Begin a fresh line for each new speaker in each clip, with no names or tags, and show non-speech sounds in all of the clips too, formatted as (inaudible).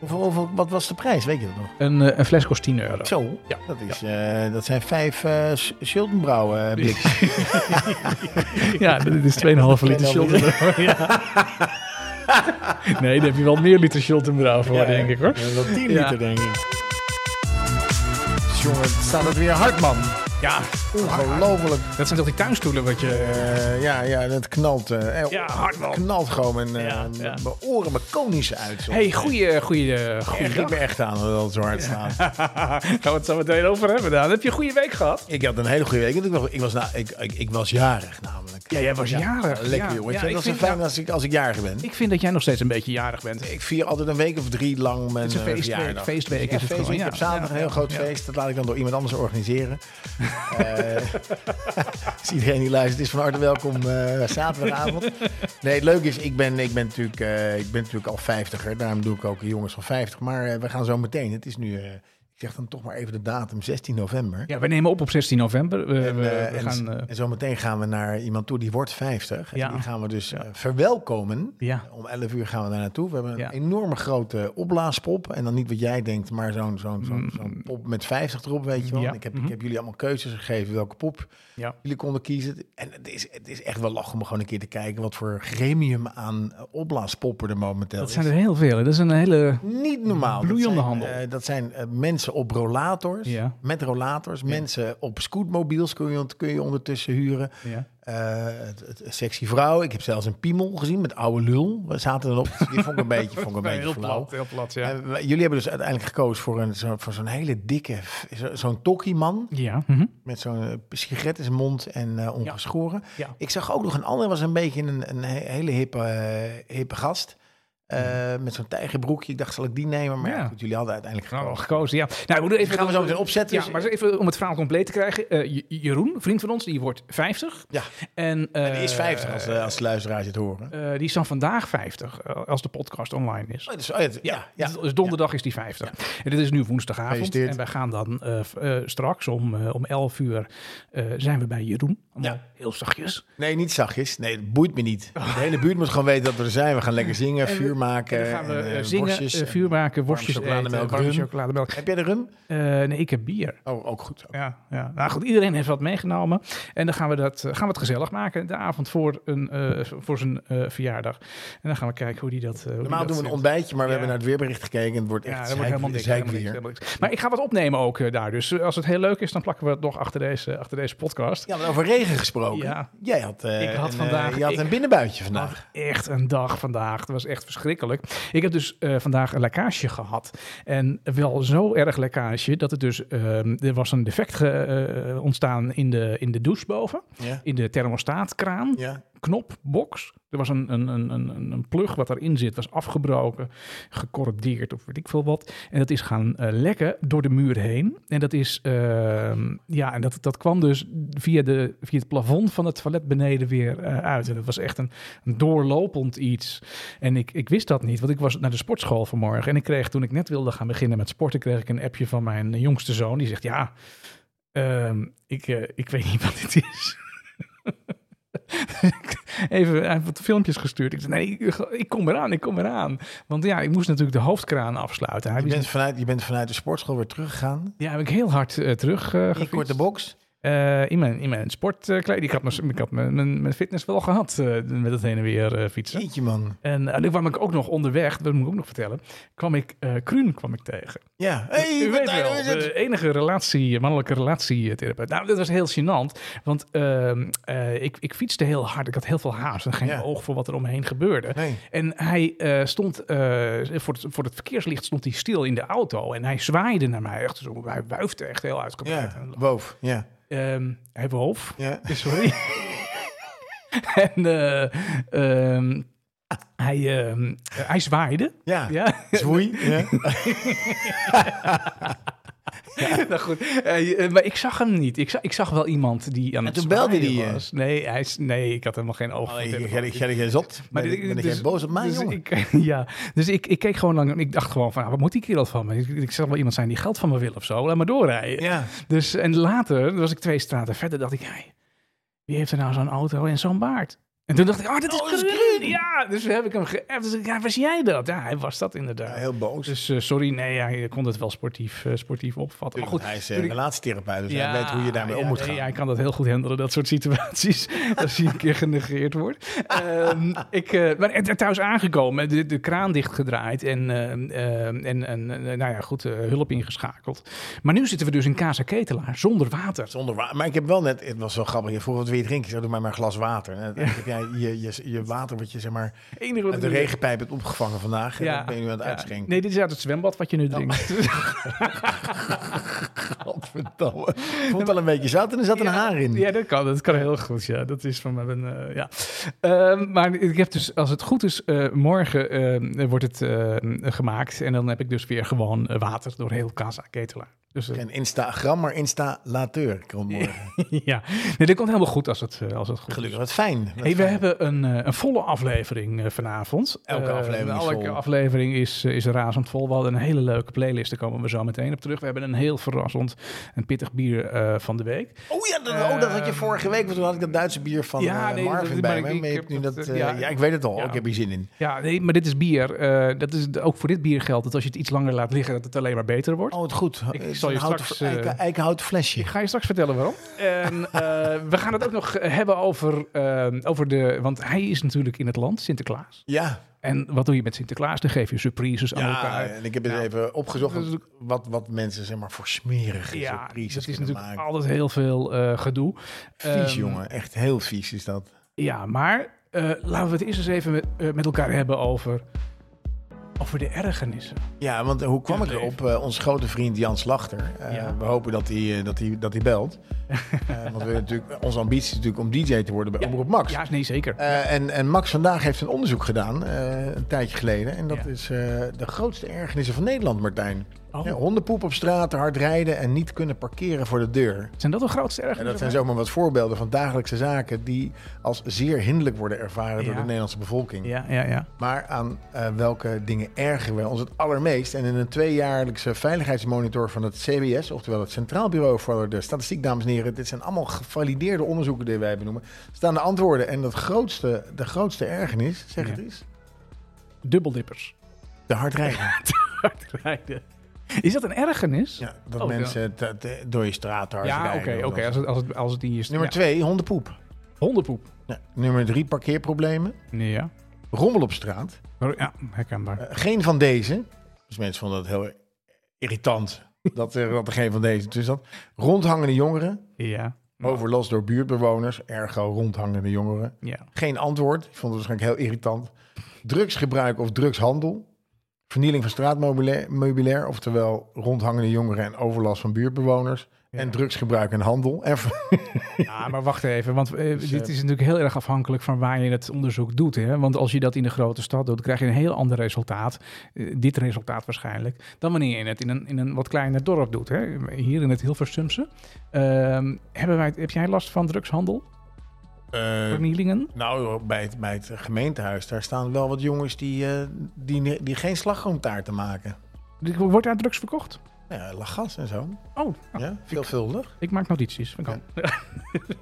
Hoeveel, hoeveel- wat was de prijs? Weet je dat nog?
Een, eh, een fles kost 10 euro.
Zo,
Ja.
dat, is, eh, dat zijn vijf eh Sch- Schuldenbrouwen eh, blikjes.
(laughs) Ja, dit is 2,5 liter Schultenbrouw. (laughs) Ja. Nee, daar heb je wel meer liter Schultenbrouw voor,
Ja,
denk ik hoor.
Ja, wel 10
Ja.
liter, denk ik. Jongen, staat het weer hard, man.
Ja,
Ongelooflijk.
dat zijn toch die tuinstoelen wat je...
Eh, ja, ja, dat knalt. eh, eh,
Ja, hard man.
knalt gewoon mijn, eh,
Ja, ja.
mijn oren, mijn konische uit. soms.
hey, goeie, goeie, eh, goeie
Echt, ik ben echt aan dat het zo hard staat.
(laughs) Gaan we het zo meteen over hebben dan. Heb je een goede week gehad?
Ik had een hele goede week. want Ik was, ik was, na- ik, ik, ik was jarig namelijk.
Ja, jij was jarig.
Lekker,
Ja,
jongen.
ja,
ik vind
ik
dat
vind
zo fijn
jou-
als ik, als ik jarig ben.
Ik vind dat jij nog steeds een beetje jarig bent.
Ik vier altijd een week of drie lang mijn
Het is een
eh,
feestweek,
verjaardag.
feestweek
Ja,
is het
feestweek.
gewoon,
Ik
ja.
heb zaterdag een heel groot feest. Dat laat ik dan door iemand anders
(laughs)
organiseren. Eh, (laughs) dus iedereen die luistert is van harte welkom eh, zaterdagavond. Nee, het leuke is, ik ben, ik ben, natuurlijk, eh, ik ben natuurlijk al vijftiger. Daarom doe ik ook jongens van 50. Maar eh, we gaan zo meteen. Het is nu, eh, ik zeg dan toch maar even de datum, 16 november.
Ja, we nemen op op 16 november. We,
En,
we-
eh,
we
en,
gaan... eh,
en zometeen gaan we naar iemand toe die wordt 50. En
Ja.
die gaan we dus eh, verwelkomen.
ja.
Om 11 uur gaan we daar naartoe. We hebben een
Ja.
enorme grote opblaaspop. En dan niet wat jij denkt, maar zo'n zo'n zo'n zo'n pop met 50 erop, weet je wel.
Mm. Ja.
En Ik, heb,
Mhm.
ik heb jullie allemaal keuzes gegeven welke pop
Ja.
jullie konden kiezen. En het is, het is echt wel lachen om gewoon een keer te kijken wat voor gremium aan eh, opblaaspoppen er momenteel
Dat
is.
zijn er heel veel. hè. Dat is een hele...
Niet normaal. Dat
Bloeiende
zijn,
handel.
eh, dat zijn eh, mensen op rollators,
Ja.
met rollators. Mensen op scootmobiels kun je, kun je ondertussen huren.
Ja.
Eh, het, het- een sexy vrouw. Ik heb zelfs een piemel gezien met oude lul. We zaten
(laughs)
erop. Die vond ik een beetje, vond ik een beetje
heel
flauw.
plat, heel plat, ja.
En we- jullie hebben dus uiteindelijk gekozen voor, een, zo, voor zo'n hele dikke, f- zo- zo'n tokkie-man.
Ja. mhm.
Met zo'n eh, sigaret in zijn mond en eh, ongeschoren.
Ja.
Ik zag ook nog een ander, was een beetje een, een he- hele hippe, eh, hippe gast. Eh, Met zo'n tijgerbroekje. Ik dacht, zal ik die nemen? Maar ja,
Mhm. Ja.
goed, jullie hadden uiteindelijk
Nou,
gekozen.
gekozen, ja. Nou, we doen
Die
even...
gaan we zo meteen opzetten.
Ja, maar even om het verhaal compleet te krijgen. eh, J- Jeroen, vriend van ons, die wordt 50.
Ja.
En, eh,
die is 50 als, eh, als de luisteraars het horen.
eh, die is dan vandaag 50, eh, als de podcast online is.
Oh, dus, oh, ja, ja, ja.
Dus donderdag is die 50. En dit is nu woensdagavond.
Gefeliciteerd.
En wij gaan dan eh, f- eh, straks om, eh, om 11 uur eh, zijn we bij Jeroen. Allemaal
Ja.
heel zachtjes.
Nee, niet zachtjes. Nee, het boeit me
(laughs)
niet. De hele buurt moet gewoon weten dat we er zijn. We gaan lekker zingen,
En we-
vuur maken.
En dan gaan we
en,
eh,
eh,
zingen,
worstjes
eh,
en-
vuur maken, worstjes
chocolademelk,
eten, warme
rum.
chocolademelk.
Heb jij de rum?
Eh, nee, ik heb bier.
Oh, ook goed.
Ja, ja, nou goed, iedereen heeft wat meegenomen. En dan gaan we, dat, eh, gaan we het gezellig maken de avond voor, een, eh, voor zijn eh, verjaardag. En dan gaan we kijken hoe die dat. eh, hoe die
Normaal
dat
doen we een
vindt.
ontbijtje, maar we
Ja.
hebben naar het weerbericht gekeken. en Het wordt
Ja,
echt
dat wordt helemaal niks, helemaal niks,
zeikbier.
helemaal niks. Maar ik ga wat opnemen ook eh, daar. Dus eh, als het heel leuk is, dan plakken we het nog achter deze, achter deze podcast.
Ja, maar over regen gesproken.
Ja.
Jij had, eh,
Ik had
een,
vandaag-
eh, je had
ik- Oh.
een binnenbuitje vandaag.
Echt een dag vandaag. Dat was echt verschrikkelijk. Ik heb dus eh, vandaag een lekkage gehad. En wel zo erg lekkage dat het dus. ehm, er was een defect ge- eh, ontstaan in de, in de douche boven.
Ja.
In de thermostaatkraan.
Ja.
knopbox. Er was een, een, een, een, een- een plug wat daarin zit, was afgebroken, gecorrupteerd of weet ik veel wat. En dat is gaan eh, lekken door de muur heen. En dat is, ehm, ja, en dat, dat kwam dus via, de, via het plafond van het toilet beneden weer eh, uit. En dat was echt een, een doorlopend iets. En ik, ik wist dat niet, want ik was naar de sportschool vanmorgen. En ik kreeg, toen ik net wilde gaan beginnen met sporten, kreeg ik een appje van mijn jongste zoon. Die zegt, ja, ehm, ik, eh, ik weet niet wat dit is. (laughs) Even, hij heeft wat filmpjes gestuurd. Ik zei, nee, ik, ik kom eraan, ik kom eraan. Want ja, ik moest natuurlijk de hoofdkraan afsluiten. Hij
Je,
wist
bent vanuit, je bent vanuit de sportschool weer teruggegaan.
niet- ja, heb ik heel hard eh, terug eh,
Ik kort
gefietst.
de box.
Eh, in mijn, in mijn sportkleding. Ik had, mijn, ik had mijn, mijn, mijn fitness wel gehad eh, met het heen en weer eh, fietsen.
Jeetje, man.
En eh, nu kwam ik ook nog onderweg, dat moet ik ook nog vertellen, kwam ik eh Kruun kwam ik tegen.
Ja. Hey,
U weet
Martijn,
wel,
hoe is het?
de enige relatie, mannelijke relatietherapeut. Nou, dat was heel gênant, want ehm, eh, ik, ik fietste heel hard. Ik had heel veel haast en geen
Ja.
oog voor wat er omheen gebeurde.
Nee.
En hij eh, stond, eh, voor, het, voor het verkeerslicht stond hij stil in de auto. En hij zwaaide naar mij echt zo. Hij wuifde echt heel uitgebreid.
Ja,
En,
boven. Ja.
ehm, hij woof.
ja.
(laughs) Sorry. en eh, ehm, hij, ehm, hij zwaaide.
Ja.
Ja.
Zwoei. Ja.
(laughs) nou goed. Eh, eh, maar ik zag hem niet. Ik zag, ik zag wel iemand die aan het
toen belde
zwaaien
die je.
was. Nee, hij, is- nee, ik had helemaal geen oog voor
Oh, ik-
telefoon.
ik- ik- ik- ik- jij zot. Ben
dit-
ik- ben ik
dus-
jij boos op mij,
dus
jongen?
Ik, (laughs) ja, dus ik, ik keek gewoon lang en ik dacht gewoon van, ah, wat moet die kerel van me? Ik, ik zal wel iemand zijn die geld van me wil of zo. Laat maar doorrijden.
Ja.
Dus, en later, was ik twee straten verder, dacht ik, hey, wie heeft er nou zo'n auto en zo'n baard? En toen dacht ik, oh, dat is
Oh, dat is
Grun.
Grun.
Ja, dus heb ik hem geappt. Dus ik, ja, was jij dat? Ja, hij was dat
Ja,
inderdaad.
heel boos.
Dus eh, sorry, nee, ja, je kon het wel sportief, eh, sportief opvatten. Maar goed,
hij is eh,
toen ik-
relatietherapeut, dus hij weet hoe je daarmee
ja,
om moet
nee,
gaan.
Ja, ik kan dat heel goed handelen, dat soort situaties. (laughs) als je een keer genegeerd wordt. Ehm, ik, eh maar het, het thuis aangekomen, de, de kraan dichtgedraaid en, ehm, ehm, en, en eh, nou ja, goed, eh, hulp ingeschakeld. Maar nu zitten we dus in Casa Ketelaar, zonder water.
Zonder wa- maar ik heb wel net, het was wel grappig. Je vroeg wat wil je drinken? Ik zei, doe mij maar een glas water. En dan heb jij je, je, je water wat je zeg maar
Enige wat
uit de
ik nu-
regenpijp hebt opgevangen vandaag. en dat ben je nu aan het
ja.
uitschenken. Oh.
Nee, dit is uit het zwembad wat je nu drinkt.
Godverdomme. Ik vond het al een beetje zat en er zat een
Ja,
haar in.
Ja, dat kan. Dat kan heel goed. Ja, dat is van mijn. eh, ja. Ehm, maar ik heb dus, als het goed is, eh, morgen eh, wordt het eh, gemaakt. En dan heb ik dus weer gewoon eh, water door heel Casa Ketelaar. Dus eh,
Geen Instagram, maar installateur. Komt morgen.
(laughs) ja, nee, dat komt helemaal goed als het, eh, als het goed is.
Gelukkig, wat fijn. Wat
Hey, we
fijn.
hebben een, eh, een volle aflevering eh, vanavond.
Elke
Eh,
aflevering is
elke
vol.
aflevering is, eh, is razend vol. We hadden een hele leuke playlist, daar komen we zo meteen op terug. We hebben een heel verrassend en pittig bier eh, van de week.
Oh ja, dat, oh, dat had je
Ehm,
vorige week. Want toen had ik dat Duitse bier van
ja,
eh,
nee,
Marvin
dat- maar
bij
ik-
me.
ik
Maar je
heb
hebt nu
dat,
dat,
eh,
eh,
ja.
ja. ik weet het al.
Ja.
Ik heb hier zin in.
Ja, nee, maar dit is bier. Eh, dat is, ook voor dit bier geldt dat als je het iets langer laat liggen, dat het alleen maar beter wordt.
Oh, het goed.
Ik
Het is
zal je
een houten-
straks, eh,
eiken- eikenhouten flesje.
Ik ga je straks vertellen waarom. En eh, (laughs) we gaan het ook nog hebben over, eh, over de... Want hij is natuurlijk in het land, Sinterklaas.
Ja,
En wat doe je met Sinterklaas? Dan geef je surprises aan
ja
elkaar.
eh, en ik heb het
Ja.
even opgezocht.
Dat is
Wat, wat mensen zeg maar voor smerige
Ja, dat
surprises
is
kunnen
natuurlijk
maken.
altijd heel veel eh, gedoe.
Vies,
Ehm,
jongen. Echt heel vies is dat.
Ja, maar eh, laten we het eerst eens even met, eh, met elkaar hebben over, over de ergernissen.
Ja, want hoe kwam
Ja,
ik
leuk.
erop? Eh, onze grote vriend Jan Slachter. Eh,
Ja.
We hopen dat hij, eh, dat hij, dat hij
(laughs)
belt. Eh, want we natuurlijk, onze ambitie is natuurlijk om DJ te worden bij
Ja.
Omroep Max.
Ja, nee, zeker.
Eh, en, en Max vandaag heeft een onderzoek gedaan, eh, een tijdje geleden. En dat
Ja.
is eh, de grootste ergernissen van Nederland, Martijn.
Oh.
Ja, hondenpoep op straat, hard rijden en niet kunnen parkeren voor de deur.
Zijn dat de grootste
En
ergernissen?
dat zijn zomaar wat voorbeelden van dagelijkse zaken die als zeer hinderlijk worden ervaren door
Ja.
de Nederlandse bevolking.
Ja, ja, ja.
Maar aan eh, welke dingen ergeren we ons het allermeest? En in een tweejaarlijkse veiligheidsmonitor van het CBS, oftewel het Centraal Bureau voor de Statistiek, dames en heren, dit zijn allemaal gevalideerde onderzoeken die wij benoemen, staan de antwoorden. En dat grootste, de grootste ergernis, zeg
Ja.
het eens,
Dubbeldippers.
de hardrijden.
hard rijden. Is dat een ergernis?
(laughs) Ja, dat
Oh, ja.
mensen te- te- door je straat hard
Ja,
rijden.
oké, oké.
Dat-
Als, het, als, het, als het in je... st-
Nummer
ja.
twee, hondenpoep.
Hondenpoep.
Ja, nummer drie, parkeerproblemen.
Nee, ja.
Rommel op straat.
Maar- Oh, Ja, herkenbaar.
Eh, geen van deze. Dus mensen vonden dat heel irritant (laughs) dat er, dat er geen van deze tussen zat. Rondhangende jongeren.
ja.
Overlast door buurtbewoners. Ergo rondhangende jongeren. (laughs)
Ja.
Geen antwoord. Ik vond het waarschijnlijk heel irritant. Drugsgebruik of drugshandel. Vernieling van straatmeubilair, meubilair, oftewel rondhangende jongeren en overlast van buurtbewoners.
Ja.
En drugsgebruik en handel. En ver-
ja, maar wacht even. Want eh,
Dus, eh,
dit is natuurlijk heel erg afhankelijk van waar je het onderzoek doet. Hè? Want als je dat in de grote stad doet, krijg je een heel ander resultaat. eh, dit resultaat waarschijnlijk. Dan wanneer je het in een, in een wat kleiner dorp doet. Hè? Hier in het Hilversumse. Ehm, hebben wij, heb jij last van drugshandel?
(laughs) Eh,
Vernielingen?
Nou, bij het, bij het gemeentehuis, daar staan wel wat jongens die, eh, die, die geen slagroomtaarten maken. Nou
Wordt daar drugs verkocht?
Ja, lachgas en zo.
Oh,
Ja, veelvuldig.
ik maak notities. Dat kan.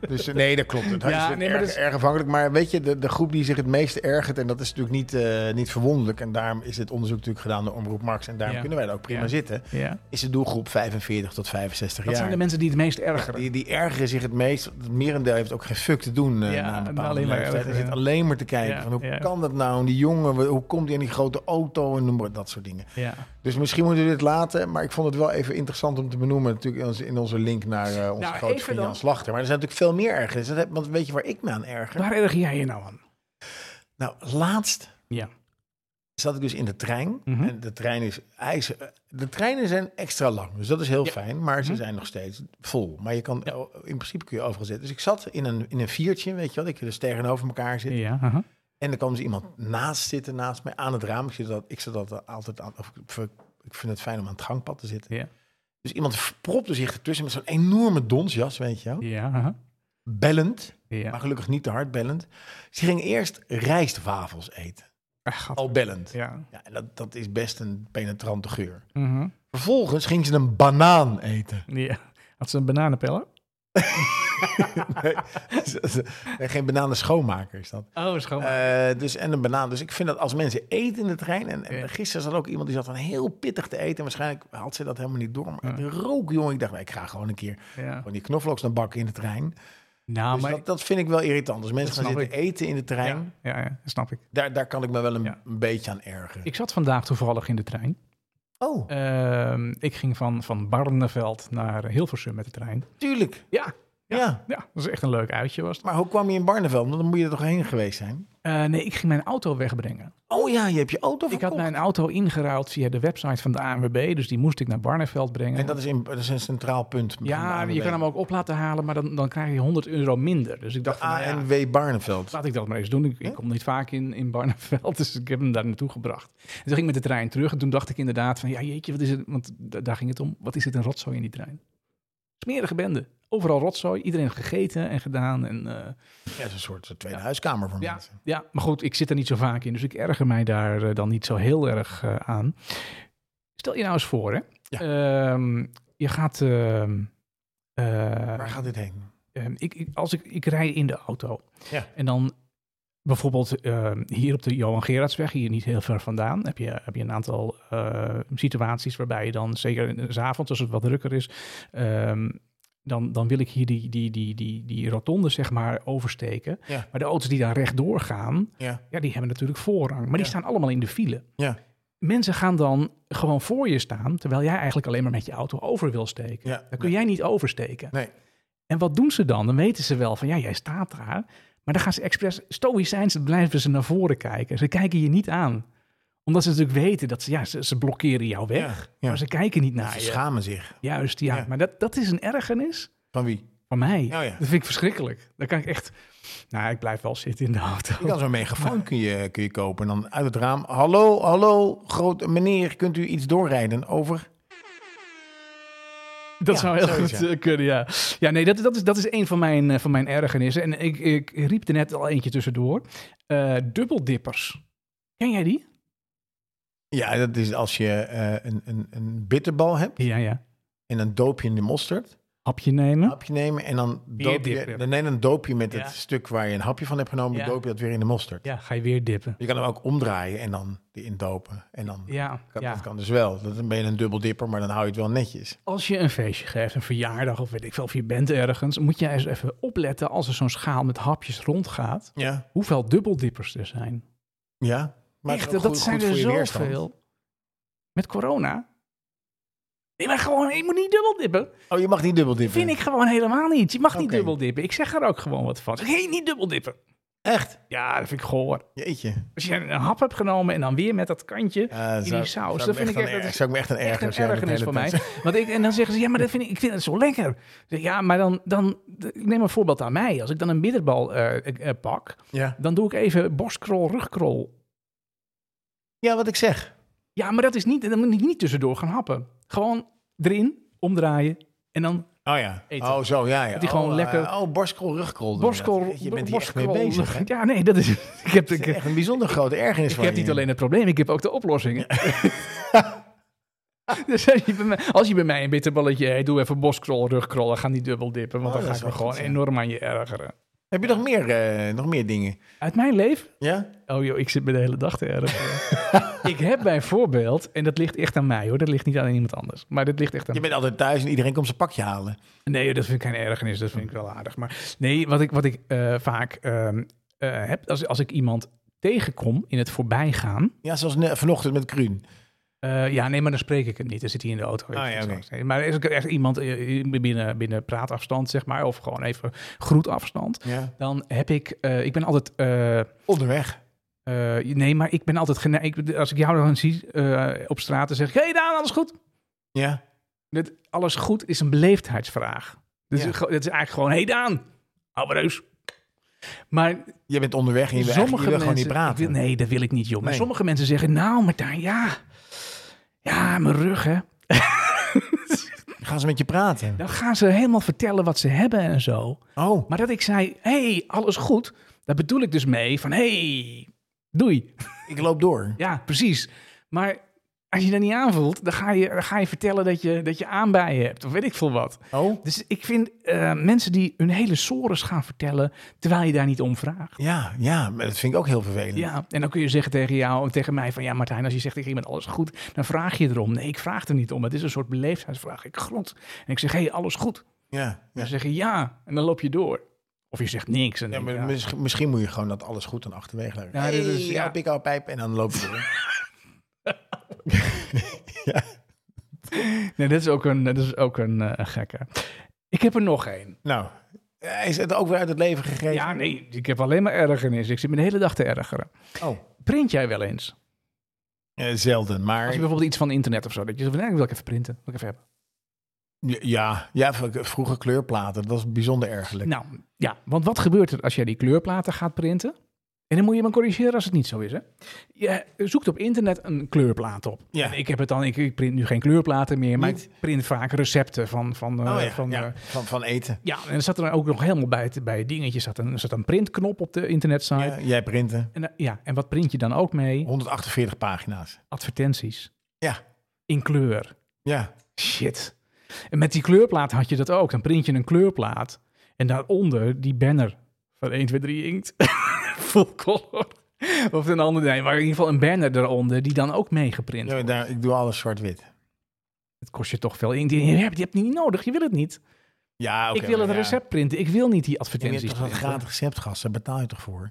Dus eh, nee, dat klopt. Het
Ja,
is
nee, maar
erg,
dat is-
erg afhankelijk. Maar weet je, de, de groep die zich het meeste ergert, en dat is natuurlijk niet, eh, niet verwonderlijk. En daarom is dit onderzoek natuurlijk gedaan door Omroep Max. En daarom
Ja.
kunnen wij daar ook prima
Ja.
zitten.
Ja.
Is de doelgroep 45 tot 65
Dat
jaar.
zijn de mensen die het meest ergeren.
die, die ergeren zich het meest. Het merendeel heeft ook geen fuck te doen eh
Ja,
na een
en
bepaalde
alleen maar
leeftijd. Hij
ergeren,
zit
ja.
alleen maar te kijken
Ja,
van hoe
ja.
kan dat nou? En die jongen, hoe komt die in die grote auto en noem maar dat soort dingen.
Ja.
Dus misschien moeten we dit laten. Maar ik vond het wel even interessant om te benoemen. Natuurlijk in onze, in onze link naar eh, onze
Nou,
grote
even
vriend
dan.
Jan Slachter. Maar er zijn natuurlijk veel meer ergernissen. Dat heb- Want weet je waar ik me aan erger?
Waar erg jij je nou aan?
Nou, laatst
Ja.
zat ik dus in de trein.
Mhm.
En de trein is ijzer. De treinen zijn extra lang, dus dat is heel
Ja.
fijn. Maar ze
Mhm.
zijn nog steeds vol. Maar je kan, in principe kun je overal zitten. Dus ik zat in een, in een viertje, weet je wel. Ik dus tegenover elkaar zit.
Ja, aha.
En er kwam dus iemand naast zitten, naast mij, aan het raam. Ik zit dat, ik zit dat altijd aan, of ik, ik vind het fijn om aan het gangpad te zitten.
Ja.
Dus iemand propte zich ertussen met zo'n enorme donsjas, weet je wel.
ja, aha.
Bellend, maar
ja.
gelukkig niet te hard bellend. Ze ging eerst rijstwafels eten,
Ach, eh, gat.
al bellend.
Ja.
Oh, Ja, en dat, dat is best een penetrante geur.
Mhm.
Vervolgens ging ze een banaan eten. (laughs)
ja. Had ze een bananenpellen?
nee, geen bananen schoonmaker is dat.
Oh, schoon.
Eh, dus, en een banaan. Dus ik vind dat als mensen eten in de trein. En, en gisteren zat ook iemand die zat dan heel pittig te eten. En waarschijnlijk had ze dat helemaal niet door. Maar de rook, jongen. Ik dacht, nee, ik ga gewoon een keer
ja.
gewoon die knoflooks dan bakken in de trein.
Nou,
dus
maar...
dat, dat vind ik wel irritant. Dus mensen
Dat
gaan
snap
zitten eten in de trein.
ja, ja, ja, snap ik.
Daar, daar kan ik me wel een,
Ja.
een beetje aan ergeren.
Ik zat vandaag toevallig in de trein.
oh,
Ehm, ik ging van, van Barneveld naar Hilversum met de trein.
tuurlijk.
Ja,
Ja.
ja, dat was echt een leuk uitje was het.
Maar hoe kwam je in Barneveld? Want dan moet je er toch heen geweest zijn?
Eh, nee, ik ging mijn auto wegbrengen.
Oh ja, je hebt je auto
Ik
verkocht.
had mijn auto ingeruild via de website van de ANWB, dus die moest ik naar Barneveld brengen.
En dat is, in, dat is een centraal punt. van de
ja,
ANWB.
je kan hem ook op laten halen, maar dan, dan krijg je 100 euro minder. Dus ik dacht,
Ah,
van, nou ja,
ANW Barneveld.
laat ik dat maar eens doen. Ik, ik kom niet vaak in, in Barneveld, (laughs) dus ik heb hem daar naartoe gebracht. En toen ging ik met de trein terug en toen dacht ik inderdaad van, ja jeetje, wat is het? Want da- daar ging het om, wat is het een rotzooi in die trein? Smerige bende. Overal rotzooi, iedereen gegeten en gedaan. En, eh,
Ja, dat is een soort eh, tweede huiskamer voor
ja,
mensen.
ja, maar goed, ik zit er niet zo vaak in, dus ik erger mij daar eh, dan niet zo heel erg eh, aan. Stel je nou eens voor, hè.
Ja.
Ehm, je gaat... ehm, eh,
Waar gaat dit heen?
Ehm, ik, ik- als ik, ik rij in de auto.
Ja.
En dan bijvoorbeeld ehm, hier op de Johan Gerardsweg, hier niet heel ver vandaan, heb je, heb je een aantal eh, situaties waarbij je dan, zeker 's avonds als het wat drukker is, ehm, dan, dan wil ik hier die, die, die, die, die rotonde zeg maar oversteken.
Ja.
Maar de auto's die daar rechtdoor gaan,
Ja.
ja, die hebben natuurlijk voorrang. Maar die
Ja.
staan allemaal in de file.
Ja.
Mensen gaan dan gewoon voor je staan, terwijl jij eigenlijk alleen maar met je auto over wil steken.
Ja.
Dan kun jij niet oversteken.
Nee.
En wat doen ze dan? Dan weten ze wel van ja, jij staat daar. Maar dan gaan ze expres stoïcijns, dan blijven ze naar voren kijken. Ze kijken je niet aan. Omdat ze natuurlijk weten dat ze, ja, ze, ze blokkeren jouw weg.
Ja, ja.
Maar ze kijken niet naar
Ze
je.
schamen zich.
Juist, ja.
Ja.
Maar dat, dat is een ergernis
Van wie?
van mij.
ja.
Dat vind ik verschrikkelijk. Dan kan ik echt... Nou, ik blijf wel zitten in de auto. (laughs)
Je kan zo'n megafoon kun je, kun je kopen. En dan uit het raam. Hallo, hallo, groot meneer, kunt u iets doorrijden over?
Dat
Ja,
zou heel
zoiets,
goed
ja.
eh, kunnen, ja. Ja, nee, dat, dat, is, dat is een van mijn, eh, van mijn ergernissen. En ik, ik riep er net al eentje tussendoor. Eh, dubbeldippers. Ken jij die?
Ja, dat is als je eh, een, een, een bitterbal hebt
Ja, ja.
en dan doop je in de
Hm?
mosterd.
Hapje nemen.
Een hapje nemen en dan doop je,
dippen.
nee, dan doop je met
Ja.
het stuk waar je een hapje van hebt genomen,
Ja.
doop je dat weer in de mosterd.
Ja, ga je weer dippen.
Je kan hem ook omdraaien en dan erin dopen. En dan,
Ja,
kan,
ja.
dat kan dus wel. Dan ben je een dubbeldipper, maar dan hou je het wel netjes.
Als je een feestje geeft, een verjaardag of weet ik veel, of je bent ergens, moet je eens even opletten als er zo'n schaal met hapjes rondgaat,
Ja,
hoeveel dubbeldippers er zijn.
ja. Maar het
Echt,
is ook
dat
goed-
zijn
goed
er
voor je weerstand.
zoveel. Met corona. Nee, maar gewoon, ik moet niet dubbeldippen.
Oh, je mag niet dubbeldippen?
Vind ik gewoon helemaal niet. Je mag niet
Oké.
dubbeldippen. Ik zeg er ook gewoon wat van. Zeg, hey, niet dubbeldippen.
Echt?
Ja, dat vind ik goor.
Jeetje.
Als je een hap hebt genomen en dan weer met dat kantje.
Ja,
die saus, dat
me
vind ik
een
echt- dat
erg-
is
zou ik me echt een
echt
ergernis
een ergernis voor mij. Want ik, en dan zeggen ze, ja, maar dat vind ik, ik vind het zo lekker. Ik zeg, Ja, maar dan, dan, ik neem een voorbeeld aan mij. Als ik dan een middenbal eh, ik, eh, pak,
Ja.
dan doe ik even borstkrol, rugkrol.
ja, wat ik zeg.
Ja, maar dat is niet, dan moet ik niet tussendoor gaan happen. Gewoon erin, omdraaien en dan
Oh ja.
Eten.
Oh, zo, ja. ja.
die
oh,
gewoon
eh,
lekker-
oh, borstkrol, rugkrol. doen we
borstkrol,
dat. Je bent hier echt mee
borstkrol, (laughs)
bezig, hè?
rug- Ja, nee, dat is, ik heb,
Het
ik,
is echt een bijzonder grote ergernis
ik
van
heb
je.
niet alleen het probleem, ik heb ook de oplossingen. (laughs) Dus als je, bij mij, als je bij mij een bitterballetje eet, doe even borstkrol, rugkrol en ga niet dubbel dippen. Want
Oh,
dan
dat
ga ik
is wel
me gewoon
goed, ja.
enorm aan je ergeren.
Heb je nog meer, eh, nog meer dingen?
Uit mijn leven
Ja?
Oh joh, ik zit me de hele dag te erg. ik heb bijvoorbeeld, en dat ligt echt aan mij hoor, dat ligt niet aan iemand anders. Maar dat ligt echt aan
Je bent altijd thuis en iedereen komt zijn pakje halen.
Nee, dat vind ik geen ergernis, dat vind ik wel aardig. Maar nee, wat ik, wat ik eh, vaak ehm, eh, heb, als, als ik iemand tegenkom in het voorbijgaan.
Ja, zoals ne- vanochtend met Kruun.
eh, ja, nee, maar dan spreek ik het niet. Dan zit hij in de auto. weet
Ah,
je,
ja,
zo.
oké.
Maar is er echt iemand eh, binnen, binnen praatafstand, zeg maar, of gewoon even groetafstand.
Ja.
Dan heb ik, eh, ik ben altijd eh,
Onderweg.
Eh, nee, maar ik ben altijd geneigd. Als ik jou dan zie eh, op straat, dan zeg ik: Hey Daan, alles goed?
Ja.
Dit, alles goed is een beleefdheidsvraag. Dus
Ja.
het is eigenlijk gewoon: Hey Daan, ouwe reus. Maar
Je bent onderweg en je wil,
sommige
eigenlijk- je wil
mensen.
gewoon niet praten.
ik wil- nee, dat wil ik niet, joh. Maar
Nee.
sommige mensen zeggen: Nou, maar Daan, ja. Ja, mijn rug, hè.
Gaan ze met je praten?
Dan gaan ze helemaal vertellen wat ze hebben en zo.
Oh.
Maar dat ik zei: Hey, alles goed. Daar bedoel ik dus mee van: Hey, doei.
Ik loop door.
Ja, precies. Maar Als je dat niet aanvoelt, dan ga je, dan ga je vertellen dat je, dat je aanbijen hebt. Of weet ik veel wat.
Oh?
Dus ik vind eh, mensen die hun hele sores gaan vertellen, terwijl je daar niet om vraagt.
Ja, ja, maar dat vind ik ook heel vervelend.
Ja, en dan kun je zeggen tegen jou en tegen mij van... ja, Martijn, als je zegt tegen iemand alles goed, dan vraag je erom. Nee, ik vraag er niet om. Het is een soort beleefdheidsvraag. Ik grond. En ik zeg, hé, hey, alles goed. En
ja, ja.
dan zeg je ja, en dan loop je door. Of je zegt niks. En
Ja,
dan-
maar
ja.
misschien- misschien moet je gewoon dat alles goed dan achterwege leggen.
Ja, dit is-
Hey,
ja.
ja, pik ouwe pijp en dan loop je
(laughs)
door.
Nee, dat is ook een, dat is ook een eh, gekke. Ik heb er nog één.
nou, eh, is het ook weer uit het leven gegeven?
Ja, nee, ik heb alleen maar ergernis. Ik zit me de hele dag te ergeren.
Oh,
Print jij wel eens?
eh, zelden, maar...
Als je bijvoorbeeld iets van internet of zo, dat je zegt, van, nee, ik wil ik even printen. Wil ik even hebben.
Ja, ja, v- vroeger kleurplaten, dat was bijzonder ergerlijk.
Nou, ja, want wat gebeurt er als jij die kleurplaten gaat printen? En dan moet je maar corrigeren als het niet zo is, hè? Je zoekt op internet een kleurplaat op.
Ja.
En ik heb het dan, ik, ik print nu geen kleurplaten meer, maar
Niet?
ik print vaak recepten van, van, eh,
oh ja,
van eh,
ja, van, van eten.
ja, en er zat er ook nog helemaal bij het, bij het dingetje zat een, zat een printknop op de internetsite.
Ja, jij printen.
En, eh, ja, en wat print je dan ook mee?
148 pagina's.
Advertenties.
Ja,
In kleur.
ja.
Shit. En met die kleurplaat had je dat ook. Dan print je een kleurplaat. En daaronder die banner van 1, 2, 3 inkt. (laughs) Full color. Of een ander, nee, maar in ieder geval een banner eronder die dan ook meegeprint.
ja maar daar, ik doe alles zwart-wit.
Het kost je toch veel inkt. Je hebt, je hebt het niet nodig, je wil het niet.
Ja, oké.
ik wil het
maar ja.
recept printen, ik wil niet die
Je hebt
advertenties
toch dat
printen.
gratis recept, gast? Daar betaal je toch voor?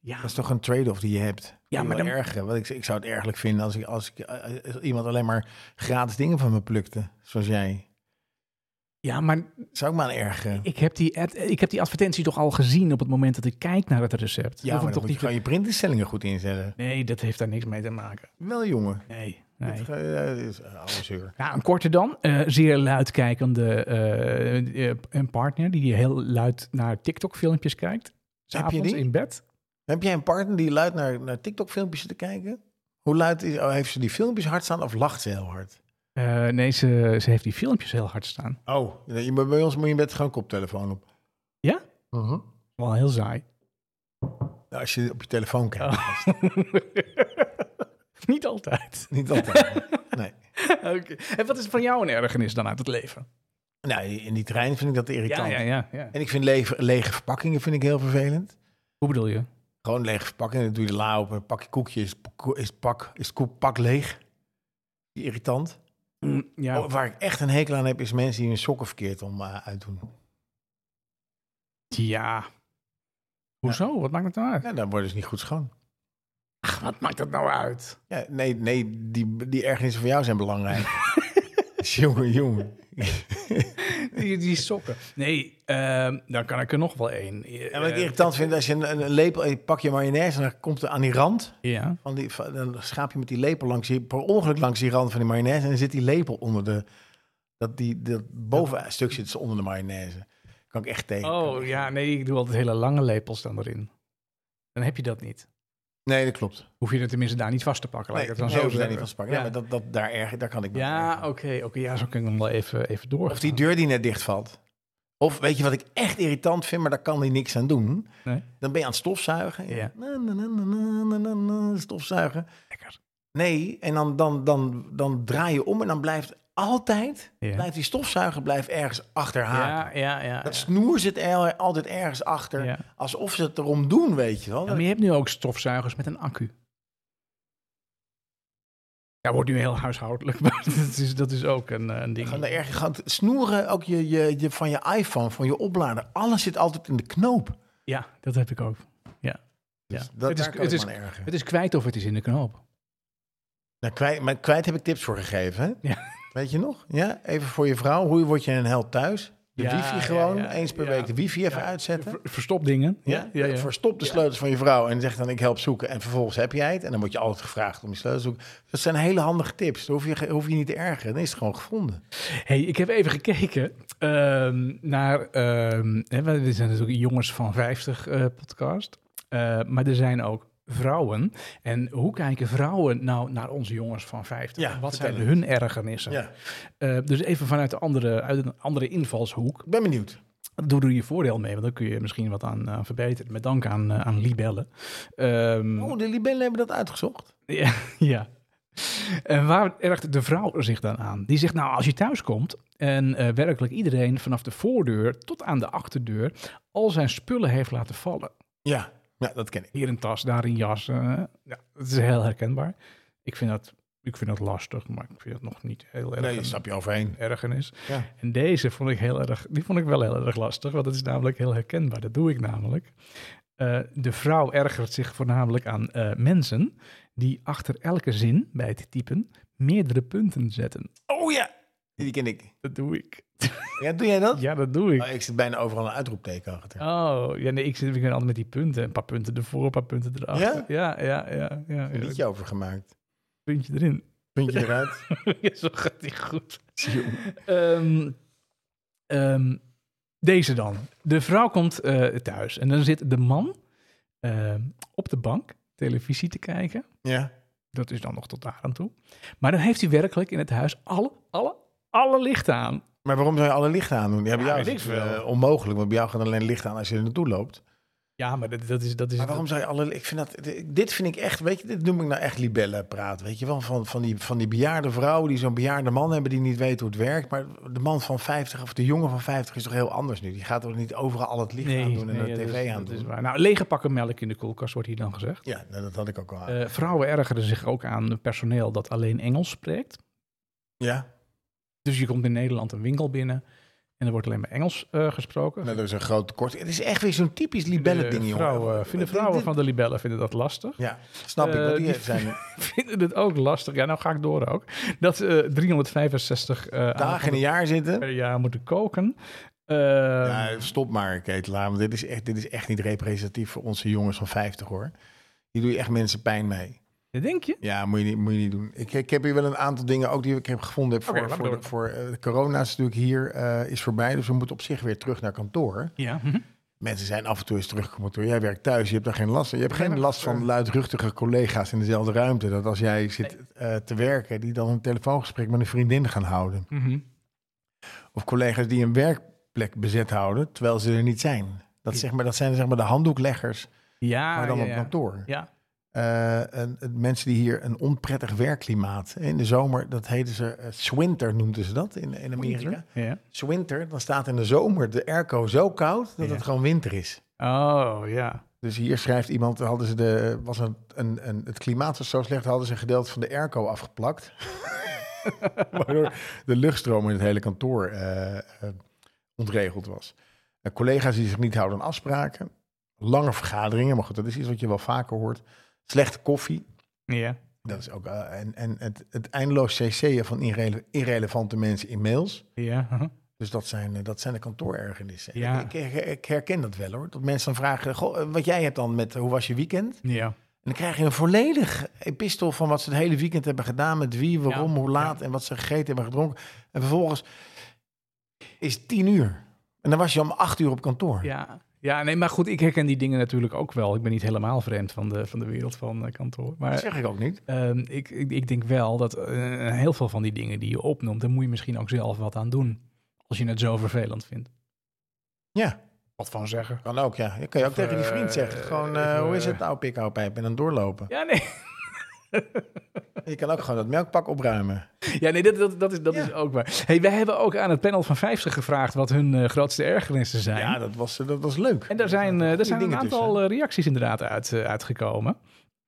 Ja,
Dat is toch een trade-off die je hebt?
Ja, maar dan-
erger. Want ik, ik zou het ergerlijk vinden als, ik, als, ik, eh, als iemand alleen maar gratis dingen van me plukte. Zoals jij.
ja, maar
Zou ik me aan ergeren.
ik heb, die ad- ik heb die advertentie toch al gezien op het moment dat ik kijk naar het
Ja,
recept. Hoef ik
maar dan moet
toch
je
niet te-
gewoon je printinstellingen goed inzetten.
Nee, dat heeft daar niks mee te maken.
Wel, jongen.
Nee,
Nee.
nee.
is eh, oude zeur.
Ja, een korte dan. Eh, zeer luidkijkende eh, eh, een partner die heel luid naar TikTok-filmpjes kijkt. S'avonds
die?
in bed.
Heb jij een partner die luid naar, naar TikTok-filmpjes zit te kijken? Hoe luid is, oh, heeft ze die filmpjes hard staan of lacht ze heel hard?
Eh, nee, ze, ze heeft die filmpjes heel hard staan.
Oh, je, moet- bij ons moet je met gewoon koptelefoon op.
Ja?
Mhm.
Wel heel saai. (laughs)
Nou, Als je op je telefoon kijkt.
Oh. Niet altijd.
Niet altijd. nee.
(laughs) Oké. En wat is van jou een ergernis dan uit het leven?
Nou, in die trein vind ik dat irritant.
Ja, ja, ja, ja.
En ik vind lege, lege verpakkingen vind ik heel vervelend.
Hoe bedoel je?
Gewoon lege verpakkingen, dan doe je de la op, een pakje koekje, is, ko- is, pak, is koek, pak leeg. Irritant.
Mm, Ja,
Oh, waar ik echt een hekel aan heb, is mensen die hun sokken verkeerd om eh, uitdoen.
ja. Hoezo? Wat maakt het nou uit?
Ja, dan worden ze niet goed schoon.
Ach, (laughs) wat maakt dat nou uit?
Ja, nee, nee die, die ergernissen van jou zijn belangrijk. jongen, jongen.
Die, die sokken. Nee, ehm, dan kan ik er nog wel één.
En wat ik
Eh,
irritant vind, als je een, een lepel, een pakje mayonaise, en dan komt er aan die rand,
Eh, Ja.
van die, van- dan schaap je met die lepel langs die, per ongeluk langs die rand van die mayonaise, en dan zit die lepel onder de, dat, die, dat bovenstuk zit ze onder de mayonaise. Kan ik echt tegen.
Oh ja, nee, ik doe altijd hele lange lepels dan erin. Dan heb je dat niet.
Nee, dat klopt.
Hoef je het tenminste daar niet vast te pakken. laat ik
nee,
het dan
nee,
zo
hoef je daar
zeggen.
niet van sprake. Ja,
Ja.
maar dat, dat, daar, erg, daar kan ik me aan
Ja,
ergeren.
oké, oké. ja, zo kan ik hem wel even, even door.
Of die deur die net dichtvalt. Of weet je wat ik echt irritant vind, maar daar kan hij niks aan doen?
Nee.
Dan ben je aan het stofzuigen.
Ja.
Na, na, na, na, na, na, na, na, stofzuigen.
Lekker.
Nee, en dan, dan, dan, dan draai je om en dan blijft altijd...
Ja.
Blijft die stofzuiger blijft ergens achter haar.
Ja, ja, ja.
Dat
ja.
snoer zit er altijd ergens achter.
Ja.
Alsof ze het erom doen, weet je wel.
Ja, maar je hebt nu ook stofzuigers met een accu. Ja, wordt nu heel huishoudelijk, (laughs) maar dat is, dat is ook een, eh, een ding.
Gewoon daar erg, gewoon het snoeren ook je, je, je, van je iPhone, van je oplader. Alles zit altijd in de knoop.
Ja, dat heb ik ook. Ja. Ja.
Dus dat,
het,
daar
is,
kan
het,
ik
is,
me aan ergeren.
het is kwijt of het is in de knoop.
Nou, kwijt, maar kwijt heb ik tips voor gegeven. Hè?
Ja.
Weet je nog? Ja, even voor je vrouw. Hoe word je een held thuis? De
Ja,
wifi gewoon,
ja, ja,
eens per
ja.
week de wifi even
Ja,
uitzetten.
Ver- Verstop dingen.
Ja, Verstop de sleutels van je vrouw en zeg dan ik help zoeken. En vervolgens heb jij het. En dan word je altijd gevraagd om je sleutels te zoeken. Dat zijn hele handige tips. Daar hoef je, ge- hoef je niet te ergeren. Dan is het gewoon gevonden.
Hey, ik heb even gekeken ehm, naar. ehm, hè, we- we zijn natuurlijk jongens van 50 eh, podcast. Eh, maar er zijn ook vrouwen. En hoe kijken vrouwen nou naar onze jongens van 50?
Ja,
Wat
vertel
zijn
het.
hun ergernissen?
Ja.
Eh, dus even vanuit de andere, uit een andere invalshoek.
Ik ben benieuwd.
Doe er je voordeel mee, want dan kun je misschien wat aan, aan verbeteren. Met dank aan, eh, aan libellen. Ehm,
Oh, de libellen hebben dat uitgezocht.
(laughs) ja, ja. En waar ergt de vrouw zich dan aan? Die zegt, nou, als je thuis komt en eh, werkelijk iedereen vanaf de voordeur tot aan de achterdeur al zijn spullen heeft laten vallen.
Ja, ja, dat ken ik.
Hier een tas, daar een jas. eh, ja, dat is heel herkenbaar. Ik vind dat, ik vind dat lastig, maar ik vind dat nog niet heel erg
Nee,
een
daar stap je overheen.
ergernis.
Ja.
En deze vond ik heel erg, die vond ik wel heel erg lastig, want dat is namelijk heel herkenbaar. Dat doe ik namelijk. Eh, de vrouw ergert zich voornamelijk aan eh, mensen die achter elke zin bij het typen meerdere punten zetten.
Oh ja, die ken ik.
Dat doe ik.
Ja, doe jij dat?
Ja, dat doe ik.
Oh, ik zit bijna overal een uitroepteken achter.
Oh, ja, nee, ik, zit, ik ben altijd met die punten. Een paar punten ervoor, een paar punten erachter. Ja, ja, ja. ja, ja,
Een liedje over gemaakt.
puntje erin.
Puntje eruit.
Ja, (laughs) Zo gaat die goed. Ehm, ehm, deze dan. De vrouw komt eh, thuis en dan zit de man ehm, op de bank televisie te kijken.
Ja.
Dat is dan nog tot daar aan toe. Maar dan heeft hij werkelijk in het huis alle, alle, alle lichten aan.
Maar waarom zou je alle lichten aandoen? Ja, bij
Ja,
jou is
weet
het
ik veel.
eh, onmogelijk, want bij jou gaan alleen lichten aan als je er naartoe loopt.
Ja, maar dat, dat is... Dat is
Maar waarom zou je alle... Ik vind dat, dit vind ik echt, weet je, dit noem ik nou echt libellenpraat. Weet je wel, van, van, die, van die bejaarde vrouwen die zo'n bejaarde man hebben die niet weet hoe het werkt. Maar de man van 50 of de jongen van 50 is toch heel anders nu? Die gaat toch niet overal al het licht
Nee,
aandoen en
nee,
de
dat
tv
is- dat
aandoen?
is waar. Nou, lege pakken melk in de koelkast wordt hier dan gezegd.
Ja, nou, dat had ik ook al aan.
Eh, vrouwen ergeren zich ook aan personeel dat alleen Engels spreekt.
ja,
Dus je komt in Nederland een winkel binnen en er wordt alleen maar Engels eh, gesproken.
nou, er is een groot tekort. Het is echt weer zo'n typisch libellen
De
ding, jongen.
Vrouwen, eh, vinden
Dit-
vrouwen
dit-
van de libellen vinden dat lastig. (laughs)
Ja, snap ik.
Eh,
want die
die-
zijn
(laughs) vinden het ook lastig. Ja, nou ga ik door ook. Dat ze eh, 365 eh,
dagen in een
avonden
jaar zitten.
per jaar moeten koken. Eh,
Ja, stop maar, Ketelaar. Want dit is, echt, dit is echt niet representatief voor onze jongens van 50, hoor. Hier doe je echt mensen pijn mee.
dat denk je?
Ja, moet je niet, moet je niet doen. Ik, ik heb hier wel een aantal dingen ook die ik heb gevonden. Voor,
Oké, laat maar
voor,
door.
voor eh, corona is natuurlijk hier eh, is voorbij. Dus we moeten op zich weer terug naar kantoor.
Ja. mhm.
Mensen zijn af en toe eens teruggekomen. door. Jij werkt thuis, je hebt daar geen last van. Je hebt
Nee,
geen
maar-
last van luidruchtige collega's in dezelfde ruimte. Dat als jij zit eh, te werken, die dan een telefoongesprek met een vriendin gaan houden.
Mhm.
Of collega's die een werkplek bezet houden, terwijl ze er niet zijn. Dat, zeg maar, dat zijn zeg maar de handdoekleggers,
Ja,
maar dan
Ah, ja,
op
ja.
kantoor.
Ja.
Eh, en, en mensen die hier een onprettig werkklimaat... In de zomer, dat heten ze... eh, swinter noemden ze dat in, in Amerika.
Ja.
Swinter, dan staat in de zomer de airco zo koud... dat
Ja.
het gewoon winter is.
Oh, ja.
Dus hier schrijft iemand, hadden ze de, eh, was een, een, een, het klimaat was zo slecht, hadden ze een gedeelte van de airco afgeplakt. (laughs) Waardoor de luchtstroom in het hele kantoor eh, eh, ontregeld was. Eh, collega's die zich niet houden aan afspraken. Lange vergaderingen, maar goed, dat is iets wat je wel vaker hoort. Slechte koffie,
Ja.
dat is ook. eh, en en het, het eindeloos cc'en van irrele- irrelevante mensen in mails.
Ja. huh.
Dus dat zijn, eh, dat zijn de kantoorergernissen.
Ja.
Ik, ik, ik herken dat wel hoor. Dat mensen dan vragen, goh, eh, wat jij hebt dan met, eh, hoe was je weekend?
Ja.
En dan krijg je een volledig epistel van wat ze het hele weekend hebben gedaan, met wie, waarom,
Ja,
hoe laat en wat ze gegeten hebben gedronken. En vervolgens is het tien uur. En dan was je om acht uur op kantoor.
Ja. Ja, nee, maar goed, ik herken die dingen natuurlijk ook wel. Ik ben niet helemaal vreemd van de, van de wereld van eh, kantoor.
Dat
Maar
zeg ik ook niet.
Ehm, ik, ik, ik denk wel dat eh, heel veel van die dingen die je opnoemt, daar moet je misschien ook zelf wat aan doen. Als je het zo vervelend vindt.
Ja,
Wat van zeggen?
kan ook, ja. Dat kan je ook
Of,
tegen die vriend
eh,
zeggen. Gewoon,
eh,
eh, hoe is
eh,
het nou, pik, hou pijp, en dan doorlopen.
Ja, nee. (laughs)
Je kan ook gewoon dat melkpak opruimen.
Ja, nee, dat, dat, dat, is, dat
Ja.
is ook waar. Hey, wij hebben ook aan het panel van 50 gevraagd wat hun eh, grootste ergernissen zijn.
Ja, dat was, eh, dat was leuk.
en daar zijn, eh,
goede
daar zijn een
dingen
aantal
tussen.
eh, reacties inderdaad uit, eh, uitgekomen.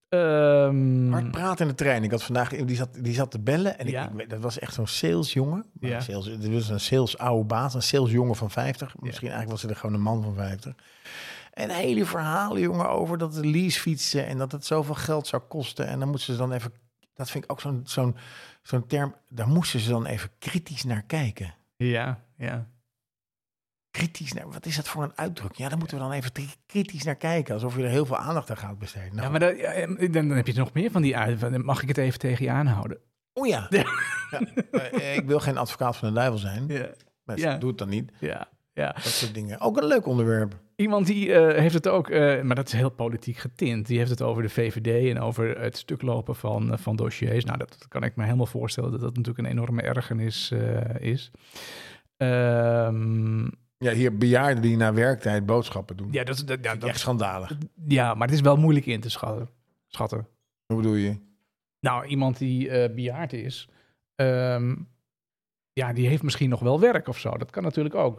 Ehm,
Hard praten in de trein. Ik had vandaag, die zat, die zat te bellen. En ik-
Ja.
ik, weet- dat was echt zo'n salesjongen. Maar
Ja.
Sales, dit was een sales oude baas, een salesjongen van 50. Misschien eigenlijk was hij er gewoon een man van 50. En hele verhalen, jongen, over dat de lease fietsen en dat het zoveel geld zou kosten. En dan moesten ze dan even, dat vind ik ook zo'n zo'n zo'n term, daar moesten ze dan even kritisch naar kijken.
ja, ja.
Kritisch naar, wat is dat voor een uitdrukking? Ja, daar moeten we dan even tri- kritisch naar kijken. Alsof je er heel veel aandacht aan gaat besteden. Nou,
ja, maar dat- ja, en dan, dan heb je nog meer van die uit. van, Mag ik het even tegen je aanhouden?
Oh ja.
Ja.
(laughs) Ja, eh, ik wil geen advocaat van de duivel zijn.
Ja,
Mensen,
Ja.
doe het dan niet.
ja, ja.
Dat soort dingen. Ook een leuk onderwerp.
Iemand die eh, heeft het ook, eh, maar dat is heel politiek getint. Die heeft het over de VVD en over het stuk lopen van, eh, van dossiers. Nou, dat, kan ik me helemaal voorstellen dat dat natuurlijk een enorme ergernis eh, is. Ehm,
Ja, hier bejaarden die na werktijd boodschappen doen.
ja, dat, is- dat, ja,
Echt
dat,
schandalig.
ja, maar het is wel moeilijk in te schatten. schatten.
Hoe bedoel je?
Nou, iemand die eh, bejaard is, ehm, ja, die heeft misschien nog wel werk of zo. Dat kan natuurlijk ook.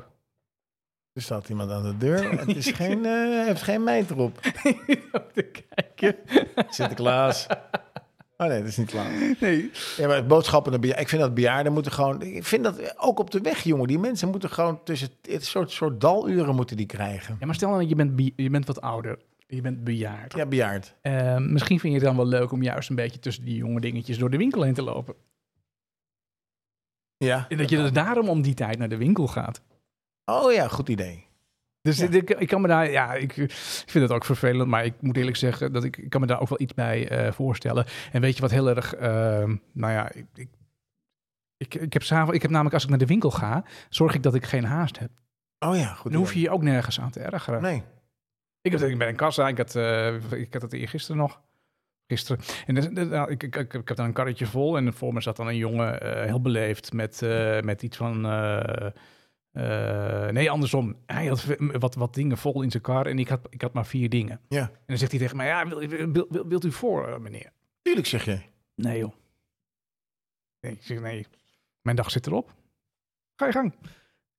Er staat iemand aan de deur. Het is geen, eh, hij heeft geen meid erop.
(laughs) Om te kijken.
Sinterklaas. Oh nee, dat is niet Klaas.
(laughs) Nee.
Ja, maar boodschappen naar bejaarden. Ik vind dat bejaarden moeten gewoon... Ik vind dat ook op de weg, jongen. Die mensen moeten gewoon tussen... Het soort, soort daluren moeten die krijgen.
Ja, maar stel nou, je bent, bi- je bent wat ouder. Je bent bejaard.
Ja, bejaard.
Eh, misschien vind je het dan wel leuk om juist een beetje tussen die jonge dingetjes door de winkel heen te lopen.
Ja.
En dat je dus daarom om die tijd naar de winkel gaat.
Oh ja, goed idee.
Dus
Ja.
dit- ik, ik kan me daar, ja, ik, ik vind het ook vervelend, maar ik moet eerlijk zeggen dat ik, ik kan me daar ook wel iets bij eh, voorstellen. En weet je wat heel erg, ehm, nou ja, ik, ik, ik, ik heb s'avonds, ik heb namelijk als ik naar de winkel ga, zorg ik dat ik geen haast heb.
Oh ja, goed
Dan hoef je
idee.
je ook nergens aan te ergeren.
Nee.
Ik, heb, ik ben in kassa, ik had, eh, ik had het eergisteren nog. Gisteren. En dus- dus, nou, ik, ik, ik, ik had dan een karretje vol en voor me zat dan een jongen, eh, heel beleefd, met, eh, met iets van... eh, eh, nee, andersom. Hij had wat, wat dingen vol in zijn kar en ik had, ik had maar vier dingen.
Ja.
En dan zegt hij tegen mij, ja, wil, wil, wil- wilt u voor, eh, meneer?
Tuurlijk zeg je.
Nee, joh. Nee, ik zeg, nee, mijn dag zit erop. Ga je gang.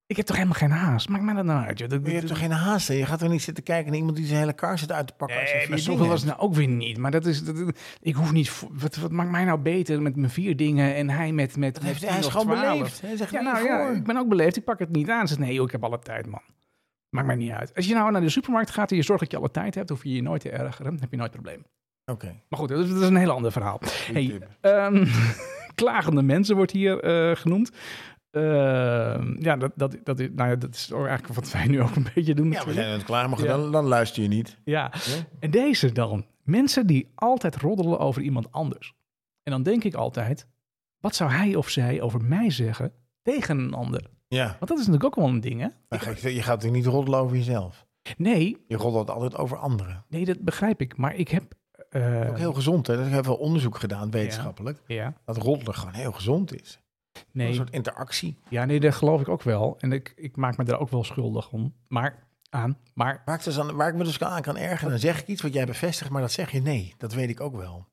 Ik heb toch helemaal geen haast? Maakt mij dat nou uit? joh. Dat-
Maar je hebt toch geen haast, hè? Je gaat toch niet zitten kijken naar iemand die zijn hele kar zit uit te pakken. als hij
Nee,
vier
maar zoveel
dingen
was het
heeft?
nou ook weer niet. Maar dat is, dat, dat- ik hoef niet, vo- wat, wat maakt mij nou beter met mijn vier dingen en hij met, met,
Dat
met
heeft,
tien
hij is
of
gewoon
12?
beleefd. Hij zegt
Ja,
niet
nou ja,
voor.
ik ben ook beleefd, ik pak het niet aan. Ze zegt, nee joh, ik heb alle tijd man. Maakt mij niet uit. Als je nou naar de supermarkt gaat en je zorgt dat je alle tijd hebt, hoef je je nooit te ergeren, dan heb je nooit probleem.
Oké.
Maar goed, dat is, dat is een heel ander verhaal. Hey,
tip.
ehm, (laughs) klagende mensen wordt hier eh, genoemd. Ehm, ja, dat, dat, dat, is, nou ja, dat is ook eigenlijk wat wij nu ook een beetje doen.
Ja, we
natuurlijk.
zijn aan het klaar, maar
Ja.
dan, dan luister je niet.
Ja.
Ja.
En deze dan. Mensen die altijd roddelen over iemand anders. En dan denk ik altijd, wat zou hij of zij over mij zeggen tegen een ander?
Ja,
Want dat is natuurlijk ook wel een ding, hè?
maar ga ik zeggen, je gaat natuurlijk niet roddelen over jezelf.
Nee,
Je roddelt altijd over anderen.
nee, dat begrijp ik. Maar ik heb... eh,
Ook heel gezond, hè? Er is heel veel onderzoek gedaan, wetenschappelijk.
Ja,
Dat roddelen gewoon heel gezond is. Een
nee.
soort interactie.
Ja, nee, dat geloof ik ook wel. En ik, ik maak me daar ook wel schuldig om. Maar, aan, maar... (laughs)
Waar ik, dus aan, waar ik me dus aan kan ergeren, dan zeg ik iets wat jij bevestigt, maar dat zeg je nee. Dat weet ik ook wel.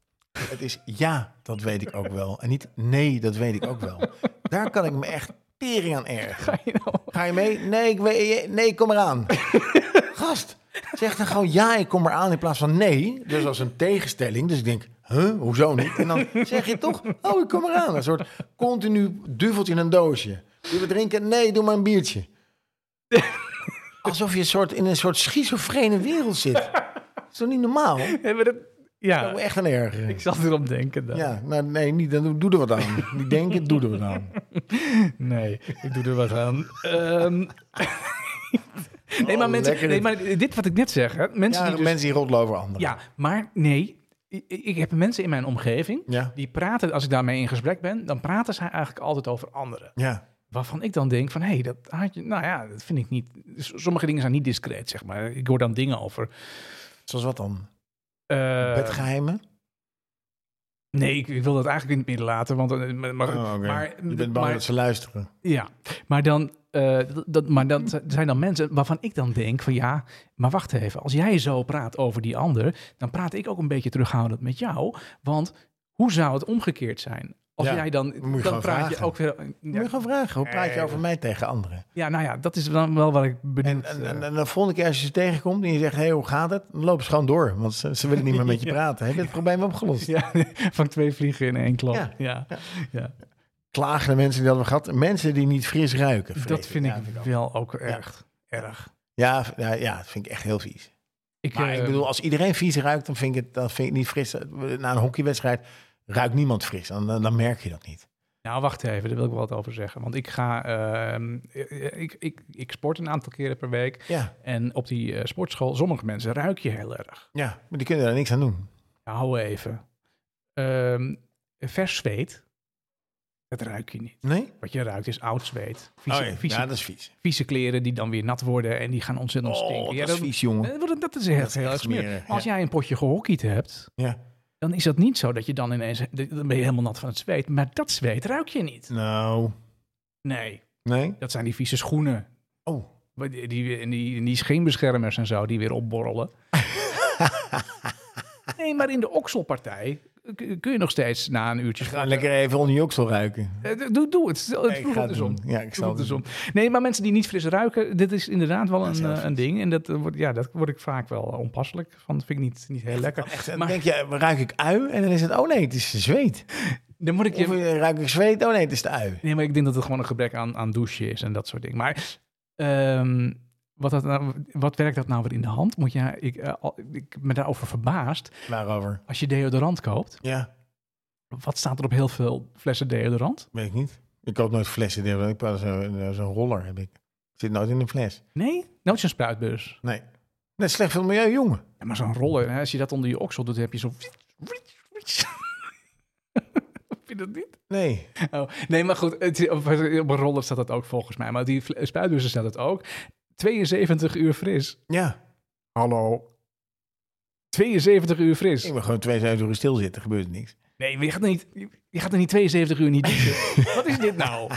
Het is ja, dat weet ik ook wel. En niet nee, dat weet ik ook wel. Daar kan ik me echt tering aan ergeren.
Ga je nou...
Ga je mee? Nee, ik, weet, nee, ik kom
(laughs)
eraan. Gast, zeg dan gewoon ja, ik kom eraan in plaats van nee. Dus als een tegenstelling. Dus ik denk, huh, hoezo niet? En dan zeg je toch, oh, ik kom eraan. Een soort continu duveltje in een doosje. Wil we drinken? Nee, doe maar een biertje.
(laughs)
Alsof je een soort, in een soort schizofrene wereld zit. Dat is toch niet normaal? Ik
Ja, maar dat-
ben
ja,
Oh, echt een erger.
ik zat erom denken. Dan.
Ja, nou, nee, niet, dan doe, doe er wat
(laughs)
aan. Niet denken, doe er wat aan.
Nee, ik doe er wat aan. Ehm, (laughs) nee, maar
Oh,
mensen,
lekker
nee,
dit.
maar dit wat ik net zeg, hè, mensen
Ja,
die dus-
mensen die roddelen over anderen.
ja, maar nee, ik, ik heb mensen in mijn omgeving
Ja,
die praten, als ik daarmee in gesprek ben, dan praten zij eigenlijk altijd over anderen.
ja.
Waarvan ik dan denk van, hé, hey, dat had je, nou ja, dat vind ik niet. s- Sommige dingen zijn niet discreet, zeg maar. Ik hoor dan dingen over.
Zoals wat dan?
eh,
Bedgeheimen?
nee, ik, ik wil dat eigenlijk in het midden laten, want eh, maar, maar,
Oh, oké.
maar-
je bent bang
maar-
dat ze luisteren.
Ja, maar dan, eh, dat, maar dan z- zijn dan mensen waarvan ik dan denk van ja, maar wacht even. Als jij zo praat over die ander, dan praat ik ook een beetje terughoudend met jou. Want hoe zou het omgekeerd zijn? Als
Ja,
jij dan,
moet je
dan
gewoon
praat je
vragen.
ook weer...
Moet
Ja,
je gewoon vragen, hoe praat je
Nee.
over mij tegen anderen?
ja, nou ja, dat is dan wel wat ik bedoel.
En, en, en, en de volgende keer als je ze tegenkomt en je zegt, hé, hey, hoe gaat het? Dan lopen ze gewoon door, want ze, ze willen niet meer
(laughs)
met je praten. Heb je het probleem opgelost?
ja, eh, (laughs) van twee vliegen in één klap. Ja,
Ja,
ja,
Klagende mensen die dat we gehad. Mensen die niet fris ruiken. vrees
dat vind
ja,
ik
ook.
wel ook erg, erg.
Ja, v- ja, ja, dat vind ik echt heel vies.
Ik,
Maar
eh,
ik bedoel, als iedereen vies ruikt, dan vind ik het, dan vind ik het niet fris. Na een hockeywedstrijd ruikt niemand fris. Dan, dan dan merk je dat niet.
Nou, wacht even, daar wil ik wel wat over zeggen. Want ik ga, ehm, ik, ik, ik sport een aantal keren per week.
Ja,
En op die eh, sportschool, sommige mensen ruik je heel erg.
ja, maar die kunnen daar niks aan doen.
Ja, hou even. Ehm, vers zweet, dat ruik je niet.
Nee?
Wat je ruikt is oud zweet. Vieze,
Oh, ja.
vieze,
ja, dat is vies.
vieze kleren die dan weer nat worden en die gaan ontzettend
Oh,
stinken. Ja,
dat is vies, jongen.
eh, dat- dat is echt
Dat is
heel
echt
erg smerig.
smerig,
Als
ja.
jij een potje gehockeyd hebt,
Ja.
dan is dat niet zo dat je dan ineens... Dan ben je helemaal nat van het zweet. Maar dat zweet ruik je niet.
Nou,
Nee,
nee.
dat zijn die vieze schoenen.
Oh,
Wat- Die, die, en die, en die
(laughs)
scheenbeschermers en zo, die weer opborrelen. nee, maar in de okselpartij kun kun je nog steeds na een uurtje...
Ga lekker even onder je oksel ruiken.
Eh, Doe, doe het. Stel-
Nee, ik
Vroeg
ga
op
het
de zon.
doen. Ja, ik
Vroeg
zal
op de
het
zon. Nee, maar mensen die niet fris ruiken, dit is inderdaad wel
Dat is
een,
heel
eh, een ding. En dat, eh, wordt, ja, dat word ik vaak wel onpasselijk van. Dat vind ik niet, niet heel lekker.
Echt, dan
Maar-
denk je, ruik ik ui? En dan is het, oh nee, het is zweet.
Dan moet ik
Of
je...
eh, ruik ik zweet? Oh nee, het is de ui.
Nee, maar ik denk dat het gewoon een gebrek aan, aan douche is en dat soort dingen. Maar ehm, wat, dat nou, wat werkt dat nou weer in de hand? Moet je, ik, eh, al- ik ben daarover verbaasd.
Waarover?
Als je deodorant koopt,
Ja,
wat staat er op heel veel flessen deodorant?
weet ik niet. Ik koop nooit flessen. Ik heb wel zo'n eh, zo'n roller, heb ik. Zit nooit in een fles.
Nee, nooit zo'n spruitbus.
Nee. Net slecht voor het milieu, jongen.
Ja, maar zo'n roller, hè, als je dat onder je oksel doet, heb je zo... (laughs) Vind je dat niet?
Nee.
Oh, nee, maar goed, het, is- op, op een roller staat dat ook volgens mij. Maar die fle- spuitbussen staat dat ook. 72 uur fris.
Ja.
Hallo. 72 uur fris.
Ik ben gewoon 72 uur stilzitten, gebeurt niks.
Nee, maar je gaat er niet, je- je gaat er niet 72 uur niet douchen. Wat is dit nou?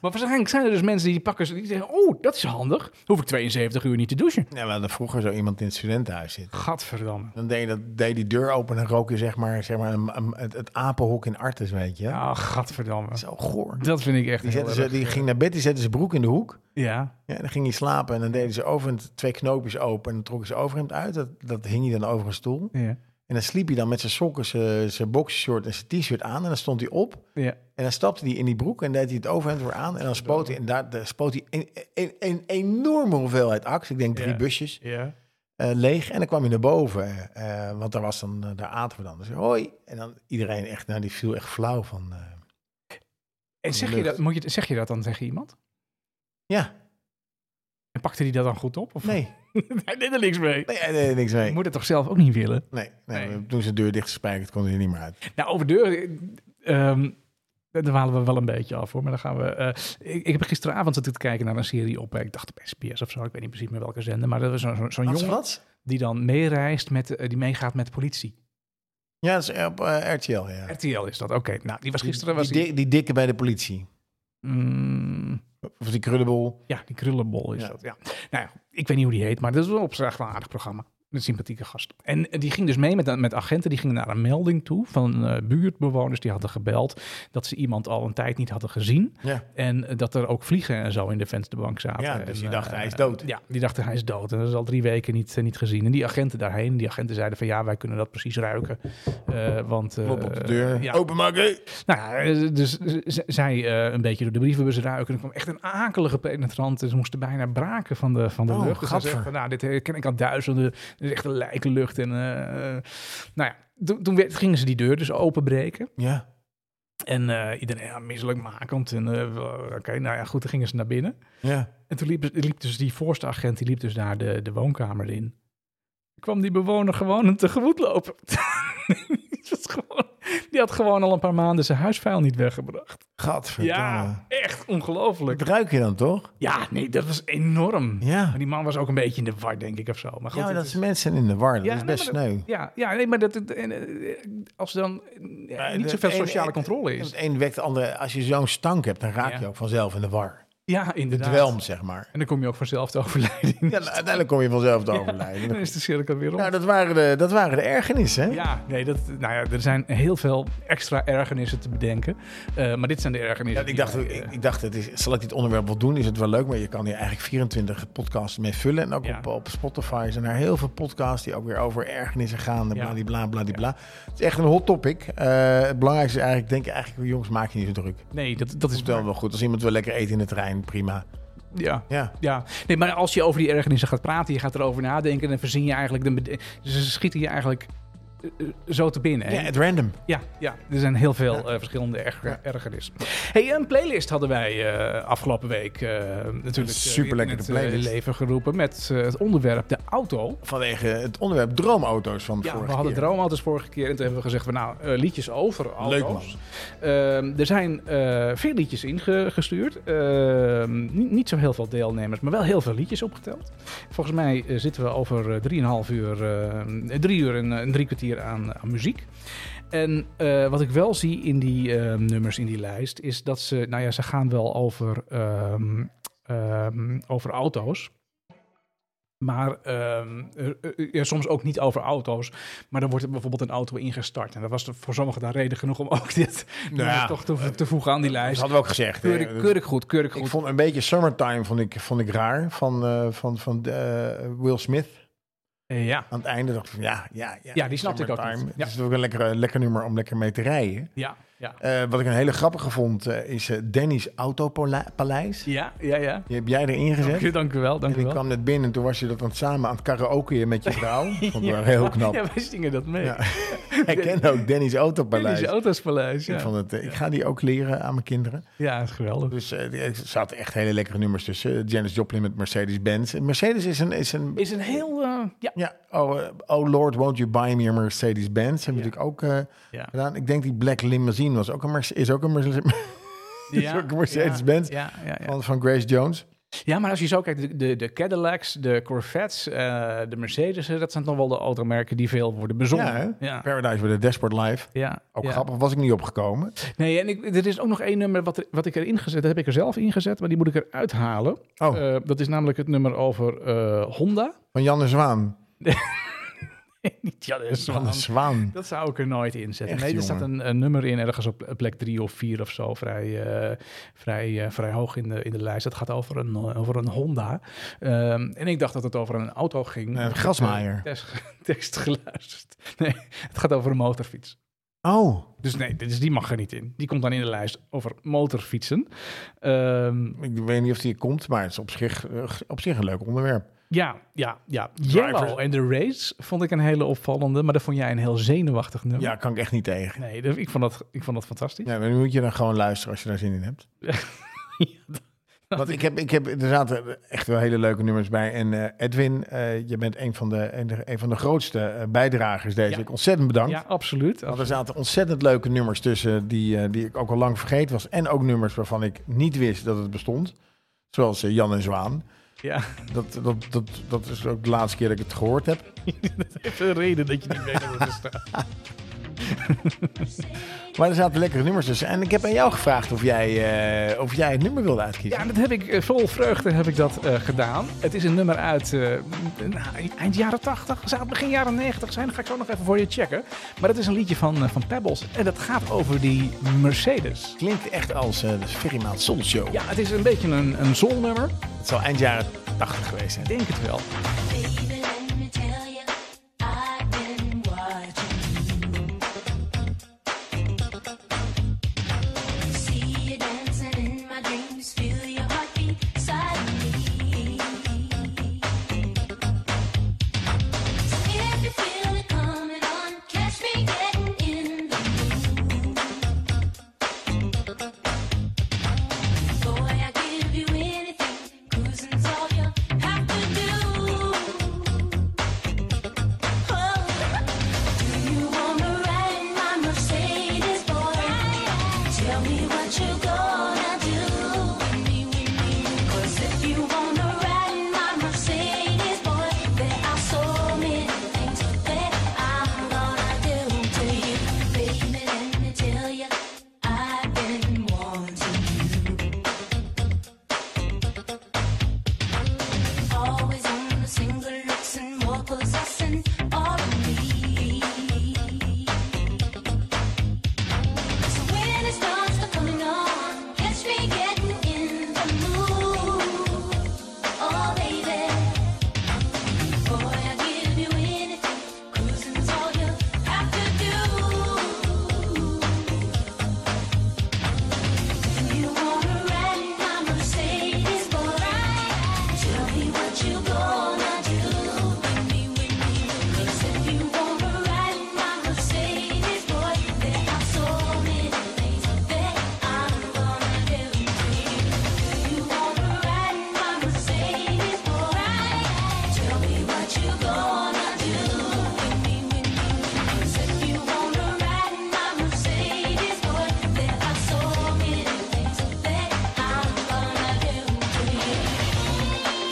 Maar waarschijnlijk zijn er dus mensen die pakken, die zeggen, oh, dat is handig. Hoef ik 72 uur niet te douchen.
Ja, we hadden vroeger zo iemand in het studentenhuis zitten.
Gadverdamme.
Dan deed je, dat, deed je die deur open en rook je zeg maar, zeg maar een- een- het, het apenhok in Artes, weet je.
Ja, gadverdamme.
Zo goor.
Dat vind ik echt
Die,
heel
zetten ze,
erg.
die ging naar bed, die zette zijn broek in de hoek.
Ja.
Ja, dan ging hij slapen en dan deden ze over twee knoopjes open. En dan trok hij zijn overhemd uit. Dat, dat hing hij dan over een stoel.
ja.
En dan sliep hij dan met zijn sokken, zijn, zijn boxershort en zijn t-shirt aan. En dan stond hij op.
ja.
En dan stapte hij in die broek en deed hij het overhemd weer aan. En dan spoot hij, en daar, daar spoot hij een, een, een enorme hoeveelheid aks. Ik denk drie
Ja.
busjes.
Ja.
eh, leeg. En dan kwam hij naar boven, eh, want daar was dan, eh, daar aten we dan. Dus hoi. En dan iedereen echt, nou die viel echt flauw van. eh,
En zeg je,
Lucht.
dat, moet je, zeg je dat dan tegen iemand?
ja,
En pakte die dat dan goed op? Of (laughs)
nee,
Hij deed er niks mee.
nee, nee, nee, niks
Je
mee.
moet het toch zelf ook niet willen?
Nee, nee,
Nee.
toen ze de deur dichtgespijkerd kon hij er niet meer uit.
Nou, over deuren. ehm daar halen we wel een beetje af hoor. Maar dan gaan we. eh, ik, ik heb gisteravond zitten te kijken naar een serie op. eh, Ik dacht op SBS of zo. Ik weet niet precies meer welke zender. Maar dat is zo'n zo'n- zo'n
Als
jongen
wat?
die dan meereist met. eh, die meegaat met de politie.
Ja, dat is op eh, RTL, ja.
RTL is dat. Oké. Nou, die was gisteren.
die,
Was die,
die, die dikke bij de politie.
Mm,
Of die krullenbol.
ja, die krullenbol is
Ja.
dat. Ja. Nou, ja, ik weet niet hoe die heet. Maar dat is wel op zich echt wel een aardig programma. Een sympathieke gast. En eh, die ging dus mee met, met agenten. Die gingen naar een melding toe van eh, buurtbewoners die hadden gebeld. dat ze iemand al een tijd niet hadden gezien.
Ja.
En eh, dat er ook vliegen en zo in de vensterbank zaten.
Ja, dus
En,
die dachten,
eh,
hij is dood.
Ja, die dachten hij is dood. En dat is al drie weken niet, eh, niet gezien. En die agenten daarheen, die agenten zeiden van ja, wij kunnen dat precies ruiken. Eh, want, eh,
Klop op de deur. Oh,
Ja,
Openmaken.
nou ja, eh, dus z- z- zij eh, een beetje door de brievenbus ruiken. Er kwam echt een akelige penetrant. en Ze moesten bijna braken van de, van de
Oh,
lucht. Dus ze
gadver.
zeggen van, nou, dit herken ik al duizenden. Dit is echt een lijkenlucht. En eh, eh, nou ja, toen, toen werd- gingen ze die deur dus openbreken.
Ja.
En eh, iedereen ja, misselijkmakend. En eh, w- oké, nou ja, goed, dan gingen ze naar binnen.
Ja.
En toen liep, liep dus die voorste agent, die liep dus daar de, de woonkamer in. Kwam die bewoner gewoon hem tegemoet lopen. (laughs) Die was gewoon- die had gewoon al een paar maanden zijn huisvuil niet weggebracht.
Gadverdamme.
Ja, echt ongelooflijk.
Dat ruik je dan toch?
Ja, nee, dat was enorm.
Ja.
Maar die man was ook een beetje in de war, denk ik, of zo. Maar goed,
Ja, maar
het
dat
is-
zijn mensen in de war. Dat
Ja,
is
nee,
best
maar
sneu.
ja, ja, nee, maar dat, het- en, eh, als er dan eh,
Maar
niet
de-
zoveel
een-
sociale
een-
controle is.
Het een wekt het andere. Als je zo'n stank hebt, dan raak
Ja.
je ook vanzelf in de war.
Ja,
Het
inderdaad.
welm, zeg maar.
En dan kom je ook vanzelf te overlijden.
Ja, nou, uiteindelijk kom je vanzelf te overlijden.
Dan (laughs) is de cirkel weer om.
Nou, dat waren de, dat waren de ergernissen. hè?
Ja, nee, dat, nou ja, er zijn heel veel extra ergernissen te bedenken. Eh, maar dit zijn de ergernissen.
Ja, ik,
die
dacht,
wij,
ik,
eh,
ik dacht het is, zal ik dit onderwerp wel doen? Is het wel leuk? Maar je kan hier eigenlijk 24 podcasts mee vullen. En ook
Ja.
op, op Spotify zijn er heel veel podcasts die ook weer over ergernissen gaan.
Ja.
Bla, bla, bla, bla. Het is echt een hot topic. Eh, het belangrijkste is eigenlijk, denk ik eigenlijk, jongens, maak je niet zo druk.
eh, nee, dat, dat is
Het is wel wel goed. Als iemand wil lekker eten in de trein, prima.
Ja.
Ja.
Ja, nee, maar als je over die ergernissen gaat praten, je gaat erover nadenken, dan verzin je eigenlijk. de bede- Ze schieten je eigenlijk eh, eh, zo te binnen. hè?
Ja, at random.
Ja, ja, er zijn heel veel eh, verschillende erger, ergernissen. hey, een playlist hadden wij eh, afgelopen week eh, natuurlijk eh,
superlekkere
in het eh,
playlist.
leven geroepen met eh, het onderwerp de auto.
Vanwege het onderwerp droomauto's van
Ja,
vorige
we hadden
keer.
droomauto's vorige keer en toen hebben we gezegd van nou, eh, liedjes over auto's.
Leuk man.
Ehm, er zijn eh, veel liedjes ingestuurd. Ehm, niet, niet zo heel veel deelnemers, maar wel heel veel liedjes opgeteld. Volgens mij eh, zitten we over eh, 3,5 uur, eh, drie uur en eh, een drie kwartier aan, aan muziek. En eh, wat ik wel zie in die ehm, nummers in die lijst is dat ze, nou ja, ze gaan wel over, ehm, ehm, over auto's. Maar ehm, eh, eh, ja, soms ook niet over auto's. Maar dan wordt er bijvoorbeeld een auto ingestart. En dat was er voor sommigen daar reden genoeg om ook (laughs) dit
Nou ja,
nummer toch te, te voegen aan die
Dat
lijst.
Dus hadden we ook gezegd. hè.
Keurig, keurig goed, keurig
Ik
goed.
vond een beetje Summertime vond ik, vond ik raar van, eh, van, van eh, Will Smith.
Eh, Ja,
Aan het einde dacht ik van ja, ja, ja.
Ja, die snapte ik ook
Summertime.
niet. Ja.
Het is ook een lekker, lekker nummer om lekker mee te rijden.
ja, ja.
Eh, wat ik een hele grappige vond eh, is eh, Danny's Autopaleis.
Ja, ja, ja.
Die heb jij erin gezet.
Dank u, dank u wel, dank
En
u
ik
wel.
kwam net binnen en toen was je dat dan samen aan het karaoke met je
(laughs)
vrouw. Vond ik wel heel knap.
Ja, wij zingen dat mee.
Ja. (laughs)
Ja.
Ik ken ook Danny's Autopaleis.
Paleis. Autospaleis, ja.
Ik, vond het, eh, ik ga die ook leren aan mijn kinderen.
Ja, is geweldig.
Dus eh, die- er zaten echt hele lekkere nummers tussen. Eh, Janis Joplin met Mercedes-Benz. En Mercedes is een... Is een
Is een heel, eh,
(laughs)
ja.
ja, oh, eh, oh Lord, won't you buy me a Mercedes-Benz? Hebben we
Ja.
natuurlijk ook eh,
Ja.
gedaan. Ik denk die Black Limousine was ook een Merce- is ook een Mercedes-Benz
ja.
ook een Mercedes-Benz.
Ja, ja, ja, ja.
(laughs) van, van Grace Jones.
Ja, maar als je zo kijkt, de, de, de Cadillacs, de Corvettes, eh, de Mercedes, dat zijn toch wel de automerken die veel worden bezongen.
Ja,
Ja, ja.
Paradise with a Dashboard Life.
ja.
Ook grappig, was ik niet opgekomen.
Nee, en ik, er is ook nog één nummer wat, er- wat ik erin gezet, dat heb ik er zelf ingezet, maar die moet ik eruit halen.
Oh,
Eh, dat is namelijk het nummer over eh,
(laughs)
Honda.
van Jan de Zwaan.
Niet Jan en
Jan
Zwaan.
de Zwaan.
Dat zou ik er nooit in zetten.
Echt,
nee, er staat
jongen.
een, een nummer in ergens op plek drie of vier of zo. Vrij, eh, vrij, eh, vrij hoog in de, in de lijst. Dat gaat over een, eh, over een Honda. Ehm, en ik dacht dat het over een auto ging.
Nee,
Ik heb de
Eh, Grasmaaier.
Tekst, (laughs) tekst geluisterd. Nee, het gaat over een motorfiets.
Oh,
Dus nee, dus die mag er niet in. Die komt dan in de lijst over motorfietsen. Ehm,
ik weet niet of die komt, maar het is op zich, eh, op zich een leuk onderwerp.
ja, ja, ja. Yellow
Drivers.
en de Race vond ik een hele opvallende. Maar dat vond jij een heel zenuwachtig nummer.
Ja, kan ik echt niet tegen.
Nee, dat- ik vond dat, ik vond dat fantastisch.
Ja, dan moet je dan gewoon luisteren als je daar zin in
(laughs)
hebt. Want ik heb, ik heb, er zaten echt wel hele leuke nummers bij. En eh, Edwin, eh, je bent een van de, een, de- een van de grootste eh, bijdragers deze
Ja.
week. Ontzettend bedankt.
Ja, absoluut.
Want er zaten ontzettend leuke nummers tussen die, eh, die ik ook al lang vergeten was. En ook nummers waarvan ik niet wist dat het bestond. Zoals eh, Jan en Zwaan.
Ja, (laughs)
Dat, dat, dat, dat is ook de laatste keer dat ik het gehoord heb.
heeft een reden dat je niet weet waar het staat.
Maar er zaten lekkere nummers tussen. En ik heb aan jou gevraagd of jij, eh, of jij het nummer wilde uitkiezen.
Ja, dat heb ik eh, vol vreugde heb ik dat eh, gedaan. Het is een nummer uit eh, nou, eind jaren 80, zou het begin jaren 90 zijn. Dat ga ik zo nog even voor je checken. Maar dat is een liedje van, eh, van Pebbles en dat gaat over die Mercedes.
Klinkt echt als eh de Ferry Maat Soul Show.
Ja, het is een beetje een, een zonnummer.
Het zal eind jaren 80 geweest zijn.
Ik denk het wel.
Baby, let me tell you, I've been watching you. See you dancing in my dreams, feel your heartbeat beside me. So if you feel it coming on, catch me getting in the Boy, I give you anything. Cruising's all you have to do. Oh, do you wanna ride in my Mercedes, boy? Tell me what you gonna do. Cause if you wanna ride in my Mercedes, boy, there are so many things that I'm gonna do to you, baby. Let me tell you, I've been wanting you. Always on the single looks and more possessing all of me. So when it starts to coming on, catch me getting in the mood. Oh, baby. Boy, I give you anything. Cruising's all you have to do. You wanna ride in my Mercedes, boy? Tell me what you gonna do with me, with me. 'Cause if you wanna ride in my Mercedes, boy, there are so many things that I'm gonna do to you. You wanna ride in my Mercedes, boy? Tell me what you gonna do with me, with me. 'Cause if you wanna ride in my Mercedes, boy, there are so many things that I'm gonna do to you.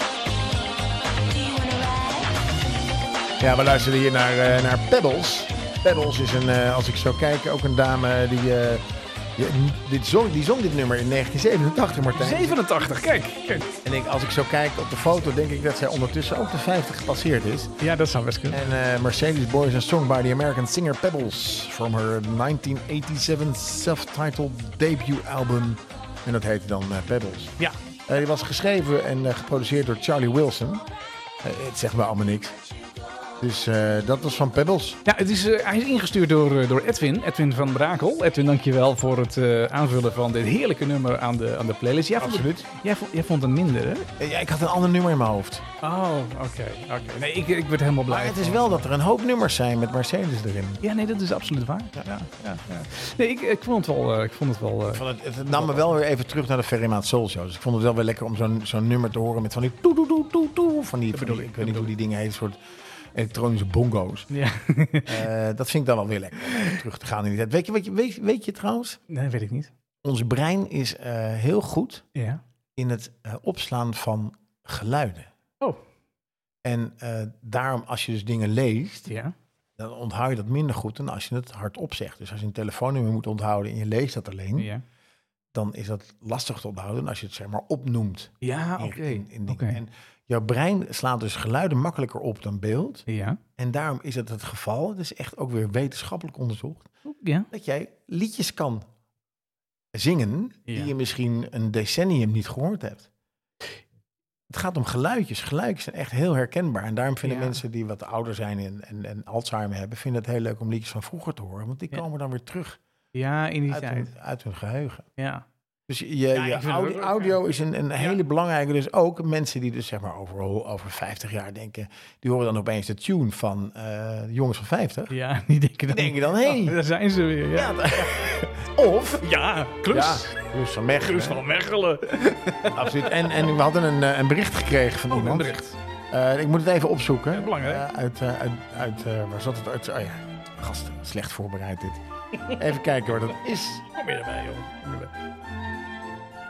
Do you wanna ride?
Ja, we luisteren hier naar, eh, naar Pebbles. Pebbles is een, eh, als ik zo kijk, ook een dame die, eh, Je- dit zong, die zong dit nummer in 1987, Martijn.
87, kijk, kijk.
En ik, als ik zo kijk op de foto, denk ik dat zij ondertussen ook de 50 gepasseerd is.
Ja, dat zou best kunnen.
En eh, Mercedes Boys are song by the American singer Pebbles from her 1987 self-titled debut album. En dat heette dan eh, Pebbles.
Ja,
Eh, die was geschreven en eh, geproduceerd door Charlie Wilson. Eh, het zegt me allemaal niks. Dus eh, dat was van Pebbles.
ja het is, eh, hij is ingestuurd door, eh, door Edwin, Edwin van Brakel. Edwin, dankjewel voor het eh, aanvullen van dit heerlijke nummer aan de, aan de playlist. Jij vond, het- jij, vond, jij vond het minder, hè?
Eh, ja, ik had een ander nummer in mijn hoofd.
Oh, oké. oké. Nee, ik, ik werd helemaal blij.
Maar het is
van-
wel dat er een hoop nummers zijn met Mercedes erin.
Ja, nee, dat is absoluut waar. Ja, ja, ja. Nee, ik, ik vond het wel... eh, ik vond het wel eh,
Ik vond het, het nam me wel weer even terug naar de Ferrymaat Soul Show. Dus ik vond het wel weer lekker om zo'n zo'n nummer te horen met van die toe toe toe toe toe. Van die, van die-
bedoel ik,
ik
dat
weet niet
bedoel
hoe die dingen heet, soort elektronische bongo's.
ja. (laughs)
Eh, dat vind ik dan wel weer lekker om even terug te gaan in die tijd. Weet je, weet je, weet, weet je trouwens,
nee, weet ik niet.
ons brein is eh, heel goed
Ja.
in het eh, opslaan van geluiden.
Oh.
En eh, daarom, als je dus dingen leest,
Ja.
dan onthoud je dat minder goed dan als je het hardop zegt. Dus als je een telefoonnummer moet onthouden en je leest dat alleen,
Ja,
dan is dat lastig te onthouden als je het zeg maar opnoemt.
ja
in-
Ah, oké.
in- in dingen.
Oké.
En jouw brein slaat dus geluiden makkelijker op dan beeld.
Ja.
En daarom is het het geval, het is echt ook weer wetenschappelijk onderzocht,
Ja.
dat jij liedjes kan zingen
Ja.
die je misschien een decennium niet gehoord hebt. Het gaat om geluidjes. Geluidjes zijn echt heel herkenbaar. En daarom vinden
Ja.
mensen die wat ouder zijn en, en, en Alzheimer hebben, vinden het heel leuk om liedjes van vroeger te horen. Want die
Ja.
komen dan weer terug
Ja, in die
uit hun,
tijd.
uit hun geheugen.
Ja.
Dus je, je
ik vind het
audi-
ook leuk,
audio is een, een hele belangrijke. Dus ook mensen die dus zeg maar over, over 50 jaar denken... die horen dan opeens de tune van eh, de jongens van 50.
Ja, (laughs) die denken dan...
Dan denk je dan, hé.
Oh, daar zijn ze weer, ja.
ja, (laughs) of...
Ja,
Ja, Guus van Mechelen,
van Mechelen.
absoluut. En, en we hadden een, eh, een bericht gekregen van
Oh,
iemand.
een bericht.
Eh, ik moet het even opzoeken.
Ja, belangrijk.
Eh, uit, eh, uit, uit eh, waar zat het? Uit, oh ja, gast, slecht voorbereid
(laughs)
dit. Even kijken waar dat is.
Kom weer erbij, joh. Kom weer erbij.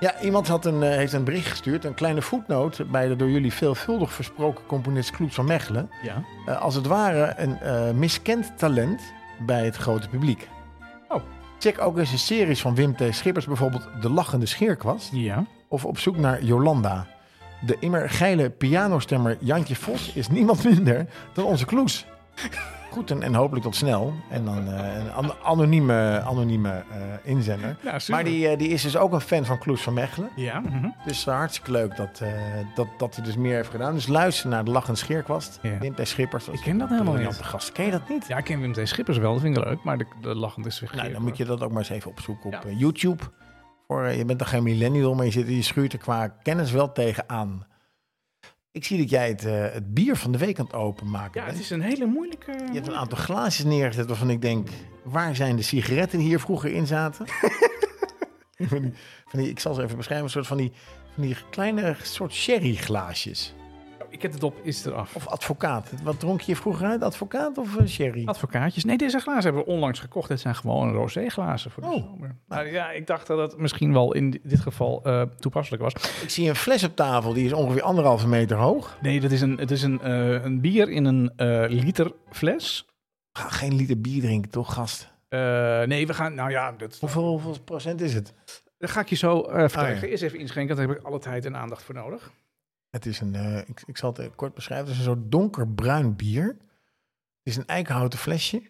Ja, iemand had een, eh, heeft een bericht gestuurd, een kleine voetnoot bij de door jullie veelvuldig versproken componist Kloet van Mechelen.
Ja.
Eh, als het ware een eh, miskend talent bij het grote publiek.
Oh.
Check ook eens de series van Wim T. Schippers, bijvoorbeeld De Lachende Scheerkwast.
Ja.
Of op zoek naar Jolanda. De immer geile pianostemmer Jantje Vos is niemand minder dan onze Kloes. Groeten en hopelijk tot snel. En dan eh, een an- anonieme, anonieme eh, inzender.
Ja, super.
Maar die, eh, die is dus ook een fan van Kloes van Mechelen.
Ja. mhm.
Dus eh, hartstikke leuk dat, eh, dat, dat hij dus meer heeft gedaan. Dus luister naar de Lachende Scheerkwast.
Ja.
Wim T. Schippers.
Ik ken dat helemaal
Briljante
niet.
gast. Ken je dat niet?
Ja, ik ken Wim T. Schippers wel, dat vind ik leuk. Maar de, de lachend is weer
Nou, dan moet je dat ook maar eens even opzoeken op
Ja.
eh, YouTube. Voor, eh, je bent dan geen millennial, maar je, zit, je schuurt er qua kennis wel tegenaan. Ik zie dat jij het, eh, het bier van de week aan het openmaken
Ja, het
bent.
is een hele moeilijke...
Je hebt een aantal glaasjes neergezet waarvan ik denk... waar zijn de sigaretten die hier vroeger in
(laughs)
zaten? van die, van die, ik zal ze even beschrijven, een soort van die, van die kleine soort sherry glaasjes.
Ik heb het op, is eraf.
Of advocaat. Wat dronk je vroeger uit? Advocaat of eh, sherry?
Advocaatjes. Nee, deze glazen hebben we onlangs gekocht. Dit zijn gewoon roséglazen voor de
Oh.
zomer. Maar ja, ik dacht dat dat misschien wel in di- dit geval eh, toepasselijk was.
Ik zie een fles op tafel, die is ongeveer anderhalve meter hoog.
Nee, dat is een, het is een, eh, een bier in een eh, liter fles.
Ga geen liter bier drinken, toch, gast?
Eh, nee, we gaan... Nou ja, dat,
Hoeveel, hoeveel procent is het?
dat ga ik je zo eh vertellen.
ja.
Ik ga Eerst even inschenken, daar heb ik alle tijd en aandacht voor nodig.
Het is een, eh, ik, ik zal het eh, kort beschrijven, het is een soort donkerbruin bier. Het is een eikenhouten flesje.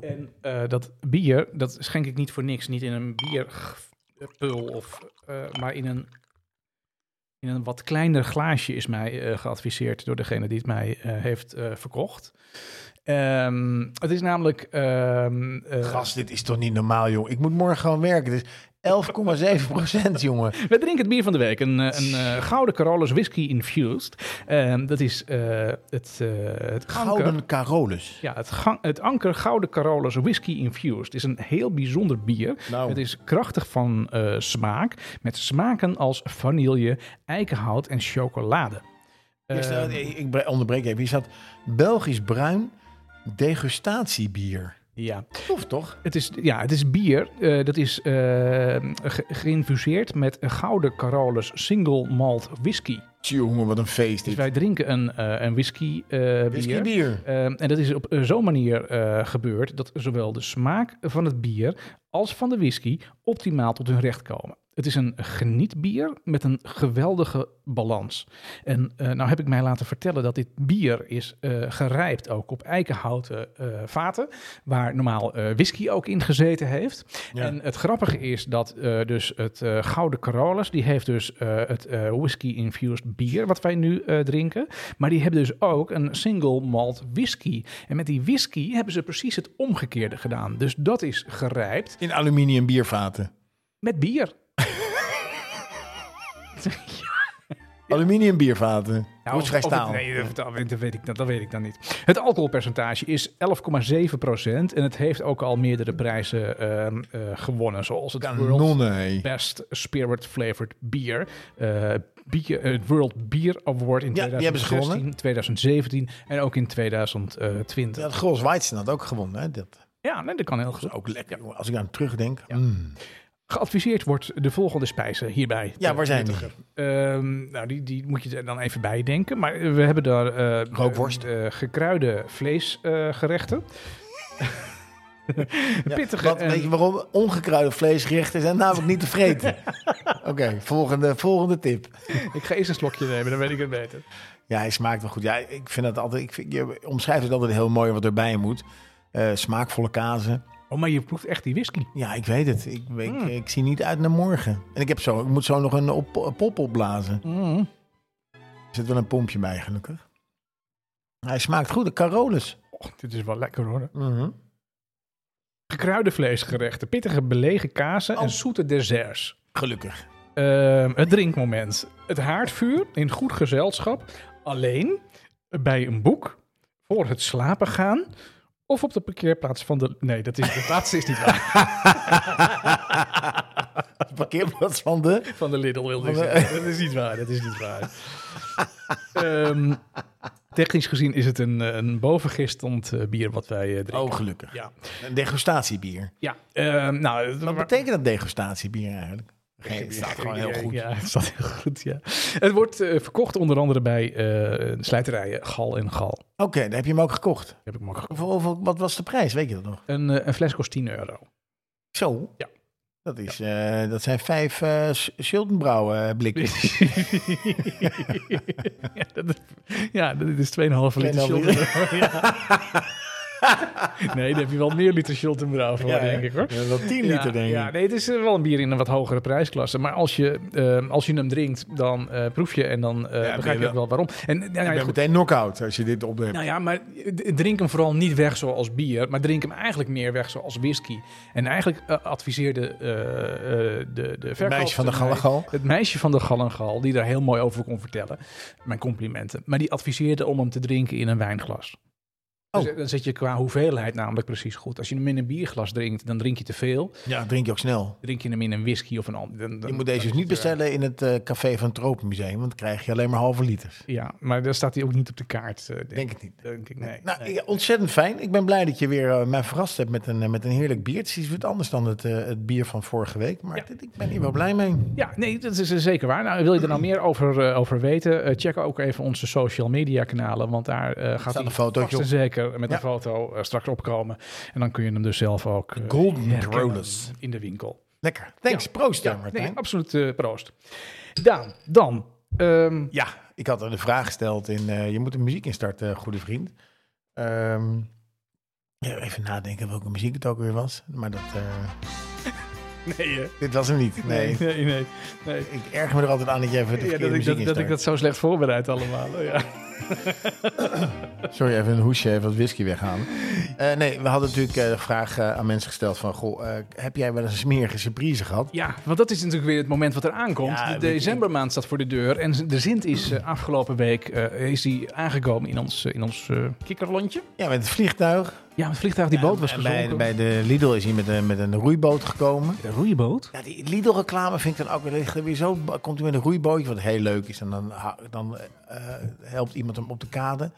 En eh, dat bier, dat schenk ik niet voor niks. Niet in een bierpul, of, eh, maar in een, in een wat kleiner glaasje is mij eh, geadviseerd door degene die het mij eh, heeft eh, verkocht. Ehm, het is namelijk... ehm, eh,
Gast, dit is toch niet normaal, joh. Ik moet morgen gewoon werken. Het is 11,7
(laughs)
procent, jongen.
We drinken het bier van de week. Een, eh, een eh, gouden Carolus whisky infused. Ehm, dat is eh, het, eh, het anker.
Gouden Carolus.
Ja, het, gang- het anker Gouden Carolus Whisky Infused is een heel bijzonder bier.
Nou.
Het is krachtig van eh, smaak, met smaken als vanille, eikenhout en chocolade. Ehm,
Hier
eh,
staat- ik- ik bre- onderbreek even. Hier staat Belgisch bruin degustatiebier.
Ja.
Tof toch?
Het is, ja, het is bier. eh, dat is eh, ge- geïnfuseerd met gouden Carolus single malt whisky.
Tjonge, wat een feest
Dus
dit.
wij drinken een, eh, een whisky, eh, bier.
Whiskybier.
Eh, en dat is op eh, zo'n manier eh, gebeurd dat zowel de smaak van het bier als van de whisky optimaal tot hun recht komen. Het is een genietbier met een geweldige balans. En eh, nou heb ik mij laten vertellen dat dit bier is eh, gerijpt ook op eikenhouten eh, vaten, waar normaal eh, whisky ook in gezeten heeft.
Ja.
En het grappige is dat eh, dus het eh, Gouden Carolus, die heeft dus eh, het eh, whisky-infused bier, wat wij nu eh, drinken. Maar die hebben dus ook een single malt whisky. En met die whisky hebben ze precies het omgekeerde gedaan. Dus dat is gerijpt
In aluminium biervaten.
met bier.
Aluminium biervaten. Roestvrij
Nou, of- of het-
staal.
nee, dat, dat- dat weet ik, dat, dat weet ik dan niet. Het alcoholpercentage is 11,7 en het heeft ook al meerdere prijzen ehm, eh, gewonnen, zoals het World
Kanonnen, hé.
Best Spirit Flavored Beer. eh, bier- eh, het World Beer Award
Ja,
in
die hebben ze
2016, 2017 en ook in 2020. Ja,
Dat Grols Weizen had ook gewonnen. Hè? Dat
nee, dat kan heel goed.
is ook lekker. jongen. Als ik aan terugdenk. mm. Ja,
Geadviseerd wordt de volgende spijzen hierbij.
ja
Eh,
waar zijn die?
Ehm, nou, die, die moet je er dan even bij denken. Maar eh, we hebben daar eh,
Rookworst.
eh, gekruide
(laughs)
vleesgerechten. Pittige
Wat,
en-
Weet je waarom? Ongekruide vleesgerechten zijn namelijk niet te (laughs) vreten. Oké, volgende, volgende tip.
ik ga eerst een slokje nemen, dan weet ik het beter.
Ja, hij smaakt wel goed. Ja, ik vind dat altijd. Ik vind, je omschrijft het altijd heel mooi wat erbij moet. Eh, smaakvolle kazen.
Oh, maar je proeft echt die whisky.
Ja, ik weet het. Ik, ik, ik zie niet uit naar morgen. En ik, heb zo, ik moet zo nog een, op, een pop opblazen. Er zit wel een pompje bij, gelukkig. Hij smaakt goed. De Carolus.
Och, dit is wel lekker hoor.
Mhm.
Gekruide vleesgerechten, pittige belegen kazen
Oh.
en zoete desserts.
Gelukkig. (laughs)
Ehm, het drinkmoment. Het haardvuur in goed gezelschap. Alleen, bij een boek, voor het slapen gaan. Of op de parkeerplaats van de... Nee, dat is, de laatste is niet waar.
De parkeerplaats van de.
(laughs) Van de Lidl wilde ik zeggen. (laughs) Dat is niet waar, dat is niet waar. Ehm, technisch gezien is het een, eh, een bovengistend eh, bier wat wij eh, drinken.
Oh, gelukkig.
Ja,
Een degustatiebier.
ja. ehm, nou... het-
Wat betekent dat degustatiebier eigenlijk? Geen, het staat gewoon heel goed.
Ja, het staat heel goed, ja. Het wordt eh, verkocht onder andere bij eh, slijterijen Gal en Gal.
Oké, daar heb je hem ook gekocht.
Heb ik maar gekocht.
Hoeveel- hoeveel- wat was de prijs? Weet je dat nog?
Een, eh, een fles kost 10 euro. (laughs)
Zo.
Ja.
Dat, is, eh, dat zijn vijf eh Sch- Schuldenbrouwen eh,
(laughs)
blikjes.
ja, dat, ja, dit is 2,5 liter
2,5
Schulten. (laughs) nee, daar heb je wel meer liter Schultenbrouw voor, denk ik hoor.
(laughs) Ja, wel tien
ja,
liter, denk ik.
ja, nee, het is eh, wel een bier in een wat hogere prijsklasse. Maar als je, eh, als je hem drinkt, dan eh, proef je en dan eh,
ben
begrijp
je
je ook wel waarom. En, nou ja,
Ik ben
goed,
meteen knock-out als je dit opneemt.
nou ja, maar d- drink hem vooral niet weg zoals bier, maar drink hem eigenlijk meer weg zoals whisky. En eigenlijk eh, adviseerde eh, eh, de, de verkoopster
meisje van de
mij-
Gallagal.
Het meisje van de Gallengal, die daar heel mooi over kon vertellen. Mijn complimenten. Maar die adviseerde om hem te drinken in een wijnglas.
Oh.
Dus dan zit je qua hoeveelheid namelijk precies goed. Als je hem in een bierglas drinkt, dan drink je te veel.
Ja, drink je ook snel.
Drink je hem in een whisky of een ander. dan- dan-
Je moet
dan
deze dus
is
niet
het, eh,
bestellen in het eh, café van het Tropenmuseum, want dan krijg je alleen maar halve liters.
Ja, maar daar staat hij ook niet op de kaart. eh, denk,
Denk het niet.
denk ik. Nee.
Nou,
Nee.
ja, ontzettend fijn. Ik ben blij dat je weer eh, mij verrast hebt met een, eh, met een heerlijk bier. Het is iets wat anders dan het, eh, het bier van vorige week, maar dit- ik ben hier wel blij mee.
Ja, nee, dat is eh, zeker waar. Nou, wil je er nou meer over, eh, over weten? eh, check ook even onze social media kanalen, want daar eh, gaat
een
hij
fotootje
vast en
op.
zeker met
Ja.
een foto eh, straks opkomen. En dan kun je hem dus zelf ook eh,
Golden
herkennen
Rollers.
in de winkel.
Lekker. Thanks. Proost, daar, Martijn.
Nee, absoluut eh, proost. Daan, dan. ehm,
Ja, ik had er de vraag gesteld in. eh, je moet een muziek instarten, eh, goede vriend. Ehm, ja, even nadenken welke muziek het ook weer was. Maar dat, eh,
nee, eh,
dit was hem niet. Nee.
nee, nee, nee. nee.
Ik erg me er altijd aan dat je even de
Ja,
verkeerde
dat, ik,
muziek
dat, dat
instart.
ik dat zo slecht voorbereid allemaal. Ja.
Sorry, even een hoesje, even wat whisky weghalen. Eh, nee, we hadden natuurlijk eh, de vraag eh, aan mensen gesteld van... Goh, eh, heb jij wel eens een smerige surprise gehad?
ja, want dat is natuurlijk weer het moment wat er aankomt.
Ja,
de
weet je-
decembermaand staat voor de deur. En de Sint is eh, afgelopen week eh, is die aangekomen in ons, eh, in ons eh, kikkerlandje.
Ja, met het vliegtuig.
Ja, het vliegtuig, die boot was
En bij,
gezonken.
bij de Lidl is hij met een, met een roeiboot gekomen.
de roeiboot?
Ja, die Lidl-reclame vind ik dan ook weer, ligt er weer zo. Komt hij met een roeibootje, wat heel leuk is. En dan, ha- dan eh, eh, helpt iemand hem op de kade.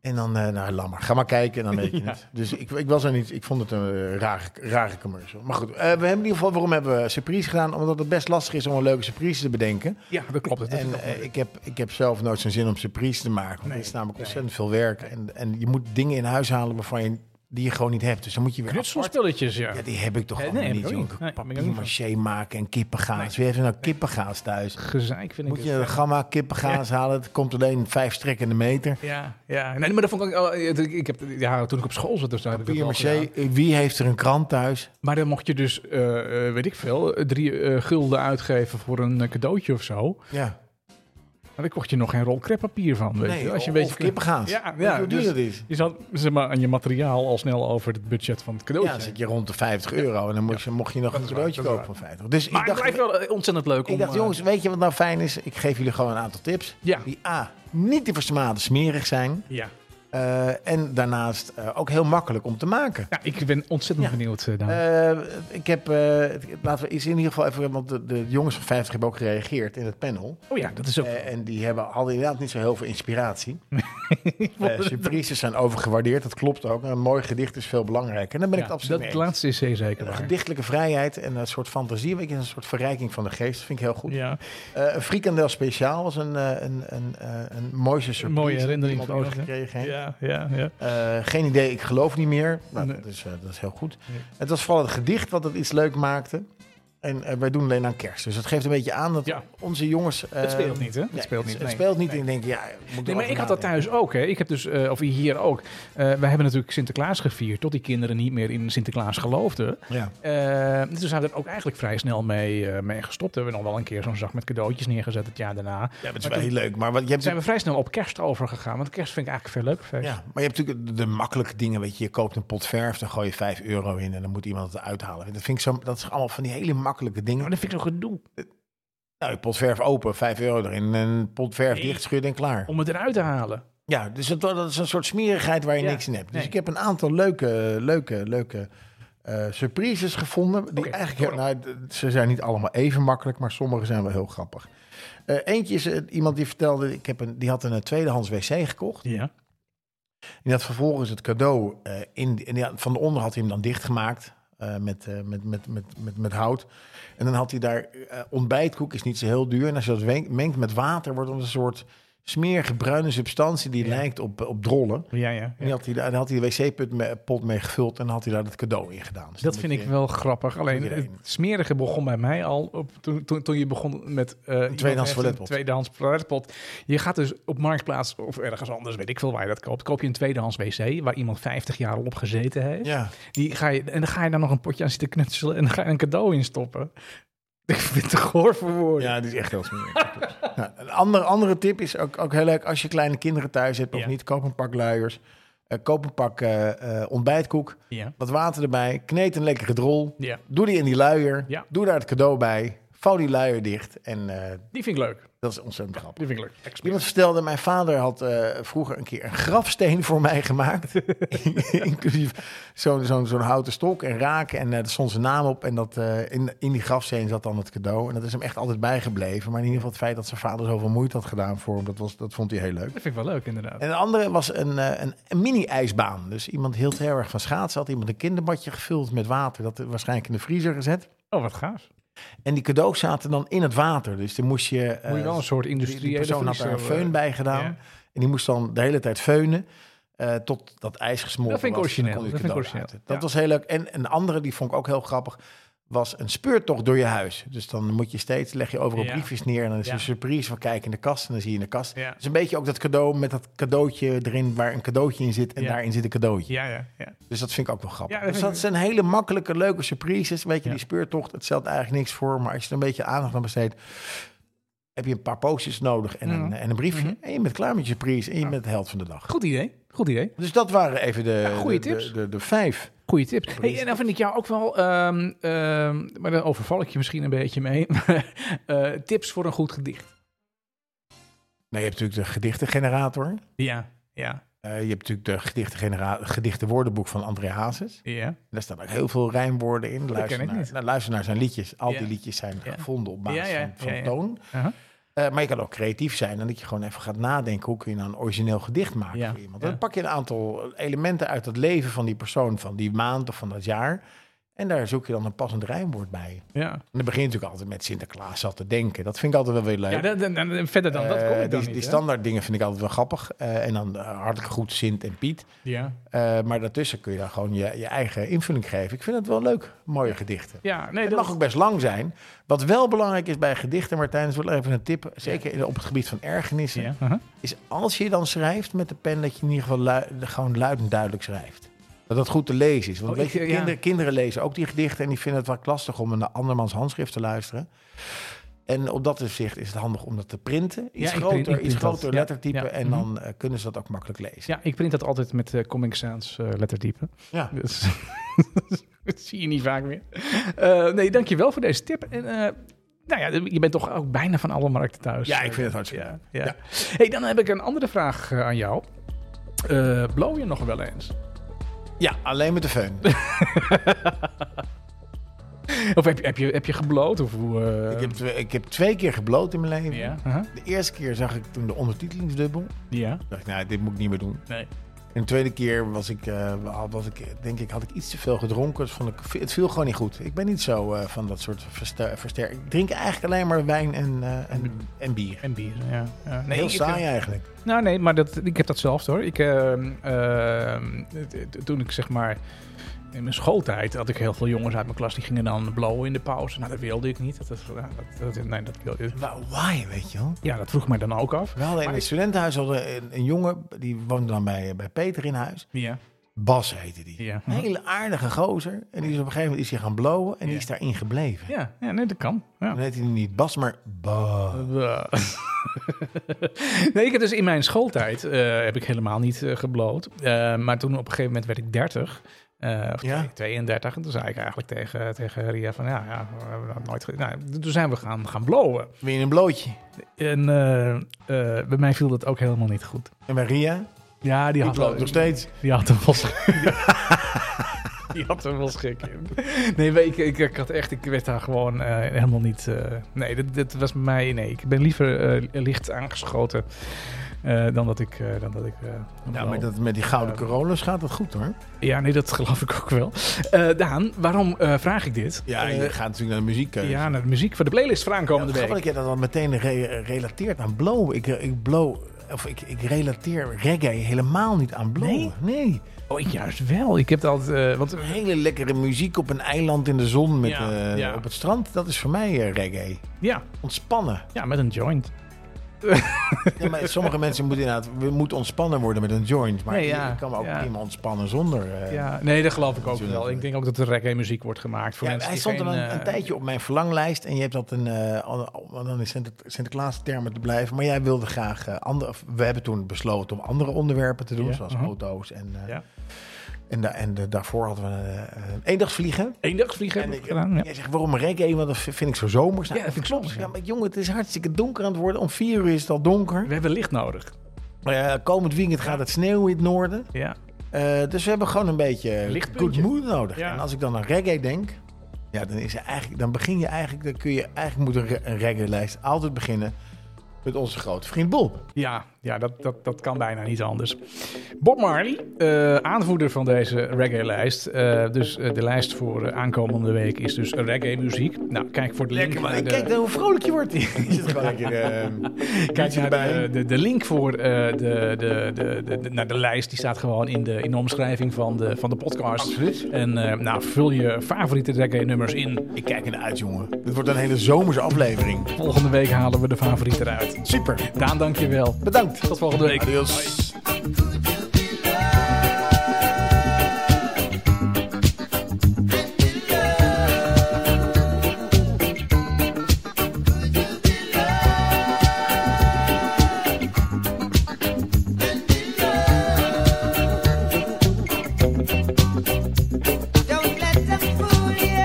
En dan, eh nou, lammer. Ga maar kijken en dan weet je
(laughs)
het. Dus ik, ik was er niet. Ik vond het een eh, rare, rare commercial. Maar goed, eh, we hebben in ieder geval, waarom hebben we surprise gedaan? Omdat het best lastig is om een leuke surprise te bedenken.
Ja, dat klopt. Dat is
en
ook-
eh, ik, heb, ik heb zelf nooit zo'n zin om surprise te maken. Want
Nee,
het is namelijk
nee.
ontzettend veel werk. En, en je moet dingen in huis halen waarvan je, die je gewoon niet hebt. Dus dan moet je weer apart-
Knutselspelletjes, ja.
Ja, die heb ik toch
Eh,
allemaal
nee, heb
niet.
ik ook
joh.
niet. Nee, ben ik ook
Papier
niet van.
maché maken en kippengaas. Wie heeft er nou kippengaas thuis?
Gezeik vind
Moet
ik
je
het.
een gamma kippengaas halen? Het komt alleen vijf strekkende meter.
Ja, ja. Nee, maar dat vond ik... oh, ik ik heb, ja, toen ik op school zat, dus daar heb ik dat
Papier
wel
maché.
gedaan.
eh, Wie heeft er een krant thuis?
Maar dan mocht je dus, eh, eh, weet ik veel, eh, drie eh, gulden uitgeven voor een eh, cadeautje of zo.
Ja.
Maar ik kocht je nog geen rol kreppapier van, weet je. Als je een
of
beetje
kippengaas.
Ja,
Weet je
ja.
Hoe duur
dus
dat is?
je zat zeg maar, aan je materiaal al snel over het budget van het
Ja,
cadeautje.
dan zit je rond de 50 euro. En dan moest je, mocht je nog een
is
cadeautje
waar, dat
kopen
is
van 50. Dus
maar
ik
het
dacht,
blijft wel eh, ontzettend leuk om...
ik dacht,
eh,
jongens, weet je wat nou fijn is? Ik geef jullie gewoon een aantal tips.
Ja.
Die A, niet te versmaden smerig zijn.
Ja.
Eh, en daarnaast eh, ook heel makkelijk om te maken.
ja, ik ben ontzettend
Ja.
benieuwd, eh, Daan.
Eh, ik heb, eh, laten we eens in ieder geval even, want de, de jongens van 50 hebben ook gereageerd in het panel.
oh ja, dat is ook...
Eh, en die hebben, hadden inderdaad niet zo heel veel
(laughs)
inspiratie.
vond
Eh, surprises zijn overgewaardeerd, dat klopt ook. Een mooi gedicht is veel belangrijker. En daar ben
ja,
ik het absoluut
dat
mee
het
eens.
laatste is zeer zeker
Een
waar.
gedichtelijke vrijheid en een soort fantasie. Weet je, een soort verrijking van de geest. Dat vind ik heel goed.
Ja,
Eh, een frikandel speciaal was een, eh, een, een, eh, een mooiste surprise.
een mooie herinnering
die
van
iemand
ons, hè?
gekregen heeft.
Ja, ja, ja.
Eh, geen idee, ik geloof niet meer. Nou,
Nee.
dat, is, eh, dat is heel goed.
Nee.
Het was vooral het gedicht wat het iets leuk maakte. En eh, wij doen alleen aan kerst. Dus dat geeft een beetje aan dat
Ja.
onze jongens... eh,
Het speelt niet, hè? Het
nee,
speelt niet,
Het
nee.
speelt niet.
Nee.
En ik denk, ja, ik moet
Nee,
erover
maar ik had dat
nadenken.
thuis ook. Hè. Ik heb dus, eh, of hier ook. Eh wij hebben natuurlijk Sinterklaas gevierd. Tot die kinderen niet meer in Sinterklaas geloofden.
Ja.
Eh, dus toen zijn we er ook eigenlijk vrij snel mee, eh, mee gestopt. We hebben nog wel een keer zo'n zak met cadeautjes neergezet het jaar daarna.
Ja, maar het is
Maar
wel
toen-
heel leuk. Maar wat, je hebt
zijn we vrij snel op kerst overgegaan. Want kerst vind ik eigenlijk veel leuker feest.
Ja, maar je hebt natuurlijk de, de makkelijke dingen. Weet je, je koopt een pot verf, dan gooi je 5 euro in en dan moet iemand het uithalen. Dat, vind ik zo, dat is allemaal van die hele makkelijke dingen.
Maar dat vind ik zo gedoe.
Nou, je pot verf open, 5 euro erin. En pot verf
Nee.
dicht schudden en klaar.
Om het eruit te halen.
Ja, dus dat, dat is een soort smerigheid waar je
Ja,
niks in hebt. Dus
nee.
ik heb een aantal leuke, leuke, leuke eh, surprises gevonden. Die
Oké,
eigenlijk,
kom
nou, d- ze zijn niet allemaal even makkelijk, maar sommige zijn wel heel grappig. Eh, eentje is eh, iemand die vertelde, ik heb een, die had een eh, tweedehands wc gekocht.
Ja.
En dat vervolgens het cadeau eh, in, in- ja, van de onder had hij hem dan dichtgemaakt eh, met, eh, met, met, met, met, met hout. En dan had hij daar eh, ontbijtkoek, is niet zo heel duur. En als je dat wen- mengt met water, wordt het een soort smerige bruine substantie die
Ja.
lijkt op, eh, op drollen.
Ja, ja.
En die had hij, daar daar had hij de wc-pot mee, pot mee gevuld en had hij daar dat cadeau in gedaan. Dus
Dat
dan
vind
moet
ik
je
wel grappig. Alleen
moet je
het
erin.
smerige begon bij mij al op, toen, toen, toen je begon met... eh, iemand
tweedehands
heeft
toiletpot.
Een tweedehands toiletpot. Je gaat dus op Marktplaats of ergens anders, weet ik veel waar je dat koopt. Koop je een tweedehands wc waar iemand 50 jaar al op gezeten heeft.
Ja,
Die ga je, en dan ga je daar nog een potje aan zitten knutselen en dan ga je een cadeau in stoppen. (laughs) Ik vind het te goor voor woorden.
ja, die is echt heel smerig. Ja, een andere, andere tip is ook, ook heel leuk als je kleine kinderen thuis hebt of
Ja.
niet. Koop een pak luiers, eh, koop een pak eh, eh, ontbijtkoek.
Ja.
wat water erbij, kneed een lekkere drol,
ja.
doe die in die luier,
Ja.
doe daar het cadeau bij, vouw die luier dicht en eh,
Die vind ik leuk.
dat is ontzettend grappig.
Die vind ik leuk. Expres.
Iemand vertelde, mijn vader had eh, vroeger een keer een grafsteen voor mij
(laughs)
gemaakt. (laughs) Inclusief zo'n zo'n zo'n houten stok en raken. En eh daar stond zijn naam op. En dat, eh, in, in die grafsteen zat dan het cadeau. En dat is hem echt altijd bijgebleven. Maar in ieder geval het feit dat zijn vader zoveel moeite had gedaan voor hem, dat, was, dat vond hij heel leuk.
Dat vind ik wel leuk, inderdaad.
En een andere was een, eh, een, een mini-ijsbaan. Dus iemand hield heel erg van schaatsen. Had iemand een kinderbadje gevuld met water. Dat waarschijnlijk in de vriezer gezet.
Oh, wat gaaf.
En die cadeaus zaten dan in het water. Dus dan moest je... eh,
Moet je wel een soort
die, die
industriële
persoon had daar een
vriezer, eh,
feun bij gedaan.
ja.
En die moest dan de hele tijd feunen. eh, tot dat ijs gesmolten
Dat vind ik
was. Dan
origineel,
kon je
dat vind ik
cadeau
origineel,
laten. Dat
ja.
was heel leuk. En een andere, die vond ik ook heel grappig, was een speurtocht door je huis. Dus dan moet je steeds, leg je overal
Ja.
briefjes neer. En dan is er
Ja.
een surprise van kijk in de kast. En dan zie je in de kast.
Ja.
Het is een beetje ook dat cadeau met dat cadeautje erin waar een cadeautje in zit. En
Ja.
daarin zit een cadeautje.
Ja, ja, ja.
Dus dat vind ik ook wel grappig.
Ja, dat
dus
vind
dat
ik-
zijn hele makkelijke, leuke surprises. Weet je,
Ja.
die speurtocht, het stelt eigenlijk niks voor. Maar als je er een beetje aandacht aan besteedt, heb je een paar postjes nodig en een,
Mhm.
en een briefje. En je bent klaar met je surprise en je bent de held van de dag.
Goed idee. Goed idee.
Dus dat waren even de,
goeie
de,
tips.
De, de, de vijf.
Goeie tips. Hey, en dan vind ik jou ook wel, ehm, ehm, maar daar overval ik je misschien een beetje mee. (laughs) Eh, tips voor een goed gedicht.
Nou, je hebt natuurlijk de gedichtengenerator.
Ja, ja,
Eh, je hebt natuurlijk de gedichtengenera- gedichtenwoordenboek van André Hazes.
ja.
Daar staan ook heel veel rijmwoorden in. Luister,
ken ik
naar,
niet.
nou, luister naar zijn liedjes. Al
Ja.
die liedjes zijn
Ja.
gevonden op basis
Ja, ja,
van, van
ja, ja.
toon.
Aha.
Eh, maar je kan ook creatief zijn en dat je gewoon even gaat nadenken... hoe kun je nou een origineel gedicht maken
Ja,
voor iemand. Dan
ja.
pak je een aantal elementen uit het leven van die persoon... van die maand of van dat jaar... en daar zoek je dan een passend rijmwoord bij.
Ja.
En dan begin je natuurlijk altijd met Sinterklaas zat te denken. Dat vind ik altijd wel weer leuk.
Ja, dan, dan- dan- verder dan dat
Eh,
kom ik dan
die,
niet.
die
hè?
standaard dingen vind ik altijd wel grappig. Eh, en dan eh, hartelijk goed Sint en Piet.
Ja.
Eh, maar daartussen kun je dan gewoon je, je eigen invulling geven. Ik vind het wel leuk, mooie gedichten.
Ja, nee,
Het
dat
mag ook best lang zijn. Wat wel belangrijk is bij gedichten, Martijn, is wel even een tip. Zeker in- op het gebied van ergernissen.
Ja, aha.
Is als je dan schrijft met de pen, dat je in ieder geval lui- gewoon luid en duidelijk schrijft. Dat dat goed te lezen is. Want
Oh,
weet
ik-
je,
ja.
kinderen, kinderen lezen ook die gedichten. En die vinden het vaak lastig om naar andermans handschrift te luisteren. En op dat opzicht is het handig om dat te printen. Iets
Ja, ik print-
groter,
ik print
iets
dat.
groter
Ja,
lettertype.
ja,
En
mhm.
dan eh, kunnen ze dat ook makkelijk lezen.
ja, ik print dat altijd met eh, Comic Sans eh, letterdiepen.
Ja.
Dus, (laughs) dat zie je niet vaak meer. Eh nee, dankjewel voor deze tip. En, eh, nou ja, je bent toch ook bijna van alle markten thuis.
Ja, ik vind het hartstikke
Ja,
leuk.
ja. Hey, dan heb ik een andere vraag eh, aan jou. Eh blow je nog wel eens?
Ja, alleen met de föhn.
(laughs) Of heb je, heb je, heb je gebloot? Of hoe, eh,
ik, heb twee, ik heb twee keer gebloot in mijn leven.
Ja, aha.
De eerste keer zag ik toen de ondertitelingsdubbel.
ja.
dacht ik, nou, dit moet ik niet meer doen.
Nee.
En de tweede keer was ik, eh, was ik, denk ik, had ik iets te veel gedronken. Dus vond ik, het viel gewoon niet goed. Ik ben niet zo eh, van dat soort verster, verster- Ik drink eigenlijk alleen maar wijn en, eh, en, en bier.
En bier, ja. ja.
Heel
ik-
saai eigenlijk.
Nou, nee, maar dat, ik heb dat zelf hoor. Ik, ehm, ehm, t- t- toen ik zeg maar. In mijn schooltijd had ik heel veel jongens uit mijn klas die gingen dan blowen in de pauze. Nou, dat wilde ik niet. Dat, is- ja, dat, dat- nee, dat wilde ik.
Maar why, weet je wel?
Ja, dat vroeg mij dan ook af.
We hadden in
Maar
het studentenhuis hadden een, een jongen, die woonde dan bij, bij Peter in huis.
Ja.
Bas heette die.
Ja.
Een hele aardige gozer. En die is op een gegeven moment is hij gaan blowen en die
Ja.
is daarin gebleven.
Ja, ja, nee, dat kan. Ja.
Dan heette hij niet Bas, maar Bas.
(laughs) nee, ik heb dus in mijn schooltijd eh, heb ik helemaal niet eh, gebloot. Eh, maar toen op een gegeven moment werd ik 30. eh, of
Ja.
twee- 32. En toen zei ik eigenlijk tegen, tegen Ria van ja, ja we hebben dat nooit ge- nou, toen zijn we gaan, gaan blowen.
Weer in een blootje.
En eh, eh, bij mij viel dat ook helemaal niet goed.
En Maria,
Ja, die
die
had,
bloopt nog steeds.
die had er wel (laughs) schik Die had er wel schik in. Nee, maar ik, ik, ik had echt, ik werd daar gewoon eh, helemaal niet... eh, nee, dat, dat was bij mij... Nee, ik ben liever eh, licht aangeschoten eh, dan dat ik... eh, dan dat ik eh,
Ja,
wel-
maar dat, met die gouden
Ja.
Corollas gaat dat goed hoor.
ja, nee, dat geloof ik ook wel. Eh, Daan, waarom eh, vraag ik dit?
Ja,
Eh,
je gaat natuurlijk naar de eh, muziekkeuze.
ja, naar de muziek voor de playlist voor
Ja,
aankomende
het grappige
week.
dat je dat dan meteen re- relateert aan blow. Ik, eh, ik blow, of ik, ik relateer reggae helemaal niet aan blow.
Nee? Oh, ik juist wel. Ik heb dat... eh, want
Hele lekkere muziek op een eiland in de zon met,
Ja,
eh,
ja.
op het strand. Dat is voor mij eh, reggae.
ja, (laughs)
Ontspannen.
ja, met een joint.
Ja, maar sommige mensen moeten inderdaad, we moeten ontspannen worden met een joint. Maar
Nee, ja,
je kan ook
ja.
prima ontspannen zonder... eh, ja.
Ja, nee, dat geloof ik ook
Zullen
wel.
we-
Ik denk ook dat er reggae muziek wordt gemaakt voor mensen
hij
die
stond er
geen,
een,
eh,
een tijdje op mijn verlanglijst en je hebt dat een, eh, ander- om dan in Sinter- Sinterklaas termen te blijven. Maar jij wilde graag eh, andere. of We hebben toen besloten om andere onderwerpen te doen,
Ja,
zoals
aha.
auto's en, eh,
Ja.
en, da- en de- daarvoor hadden we eh, een eendagsvliegen.
eendagsvliegen
En
heb ik
ik-
gedaan. Ja.
Jij zegt waarom reggae? Want dat v- vind ik zo zomers. Nou,
Ja, dat vind ik zomers, ja.
Ja, maar jongen, het is hartstikke donker aan het worden. Om vier uur is het al donker.
We hebben licht nodig.
Eh, komend weekend gaat het sneeuw in het noorden.
Ja.
Eh, dus we hebben gewoon een beetje good
Lichtpuntje.
mood nodig.
Ja.
En als ik dan aan reggae denk, ja, dan, is er eigenlijk, dan begin je eigenlijk, dan kun je eigenlijk moet een, re- een reggae-lijst altijd beginnen met onze grote vriend Bob.
Ja, ja dat, dat, dat kan bijna niet anders. Bob Marley, eh, aanvoerder van deze reggae-lijst. Eh, dus eh, de lijst voor eh, aankomende week is dus reggae-muziek. Nou, kijk voor de link. naar
En
de-
kijk nou hoe vrolijk je wordt. Je zit gewoon lekker. (laughs) eh,
Kijk
Doet je
naar de,
erbij.
de, de link voor eh, de, de, de, de, de- naar de lijst. Die staat gewoon in de, in de omschrijving van de, van de podcast.
Absoluut.
En eh, nou, vul je favoriete reggae-nummers in.
ik kijk ernaar uit, jongen. Dit wordt een hele zomerse aflevering.
Volgende week halen we de favoriet eruit.
Super.
Daan, dankjewel.
Bedankt.
Tot volgende week.
Adios.
Don't let them fool you.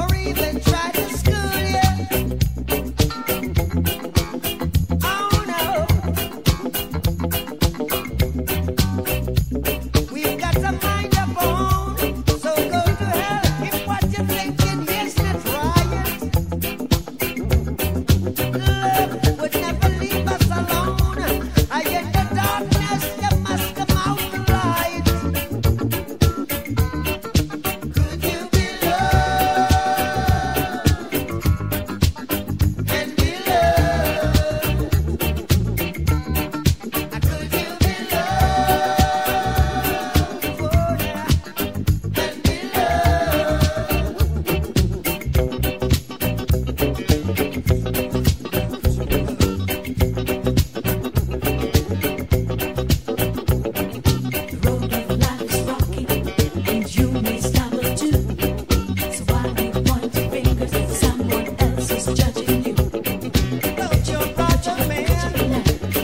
Or even try to school you. Oh,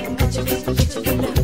Thank you.